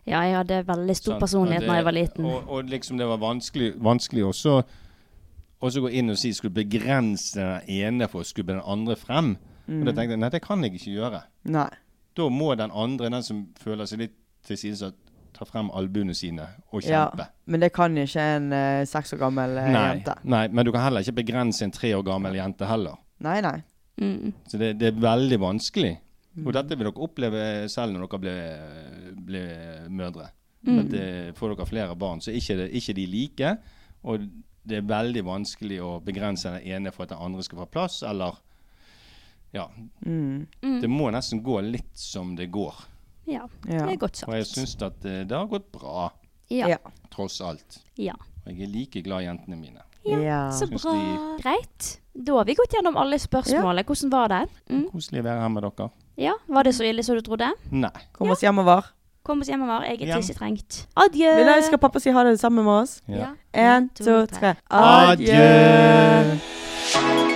Speaker 1: Ja, jeg hadde veldig stor
Speaker 3: Sant? Og
Speaker 1: personlighet
Speaker 3: det-
Speaker 1: da jeg var liten.
Speaker 3: Og, og liksom det var vanskelig, vanskelig også også gå inn og si skulle begrense den ene for å skubbe den andre frem. Og da
Speaker 2: Mm.
Speaker 3: tenkte jeg nei, det kan jeg ikke gjøre.
Speaker 2: Nei.
Speaker 3: Da må den andre, den som føler seg litt tilsidesatt, ta frem albuene sine og
Speaker 2: Ja.
Speaker 3: kjempe.
Speaker 2: Men det kan ikke en eh, seks år gammel eh,
Speaker 3: Nei,
Speaker 2: jente.
Speaker 3: nei, men du kan heller ikke begrense en tre år gammel jente heller.
Speaker 2: Nei, nei.
Speaker 1: Mm.
Speaker 3: Så det, det er veldig vanskelig. Og dette vil dere oppleve selv når dere blir, blir mødre.
Speaker 1: Mm.
Speaker 3: At eh, får dere flere barn, så er ikke, det, ikke de like. Og det er veldig vanskelig å begrense den ene for at den andre skal få plass, eller Ja.
Speaker 2: Mm,
Speaker 3: Det må nesten gå litt som det går.
Speaker 1: Mm. Ja, det
Speaker 2: Ja.
Speaker 1: er godt
Speaker 3: Og jeg
Speaker 1: sagt.
Speaker 3: syns at eh, det har gått bra,
Speaker 1: Ja.
Speaker 2: Ja.
Speaker 3: tross alt.
Speaker 1: ja.
Speaker 3: Og jeg er like glad i jentene mine.
Speaker 2: Ja.
Speaker 1: Så
Speaker 3: Syns
Speaker 1: bra. Greit. Da har vi gått gjennom alle spørsmålene. Hvordan var det? Mm.
Speaker 3: Koselig å være her med dere.
Speaker 1: Ja, Var det så ille som du trodde?
Speaker 3: Nei.
Speaker 2: Kom oss hjemover.
Speaker 1: Kom oss hjemover. Jeg er
Speaker 3: Hjem.
Speaker 1: tissetrengt. Adjø.
Speaker 2: Men da skal pappa si ha det sammen med oss.
Speaker 3: Ja.
Speaker 2: Eh, En, to, tre.
Speaker 3: Adjø.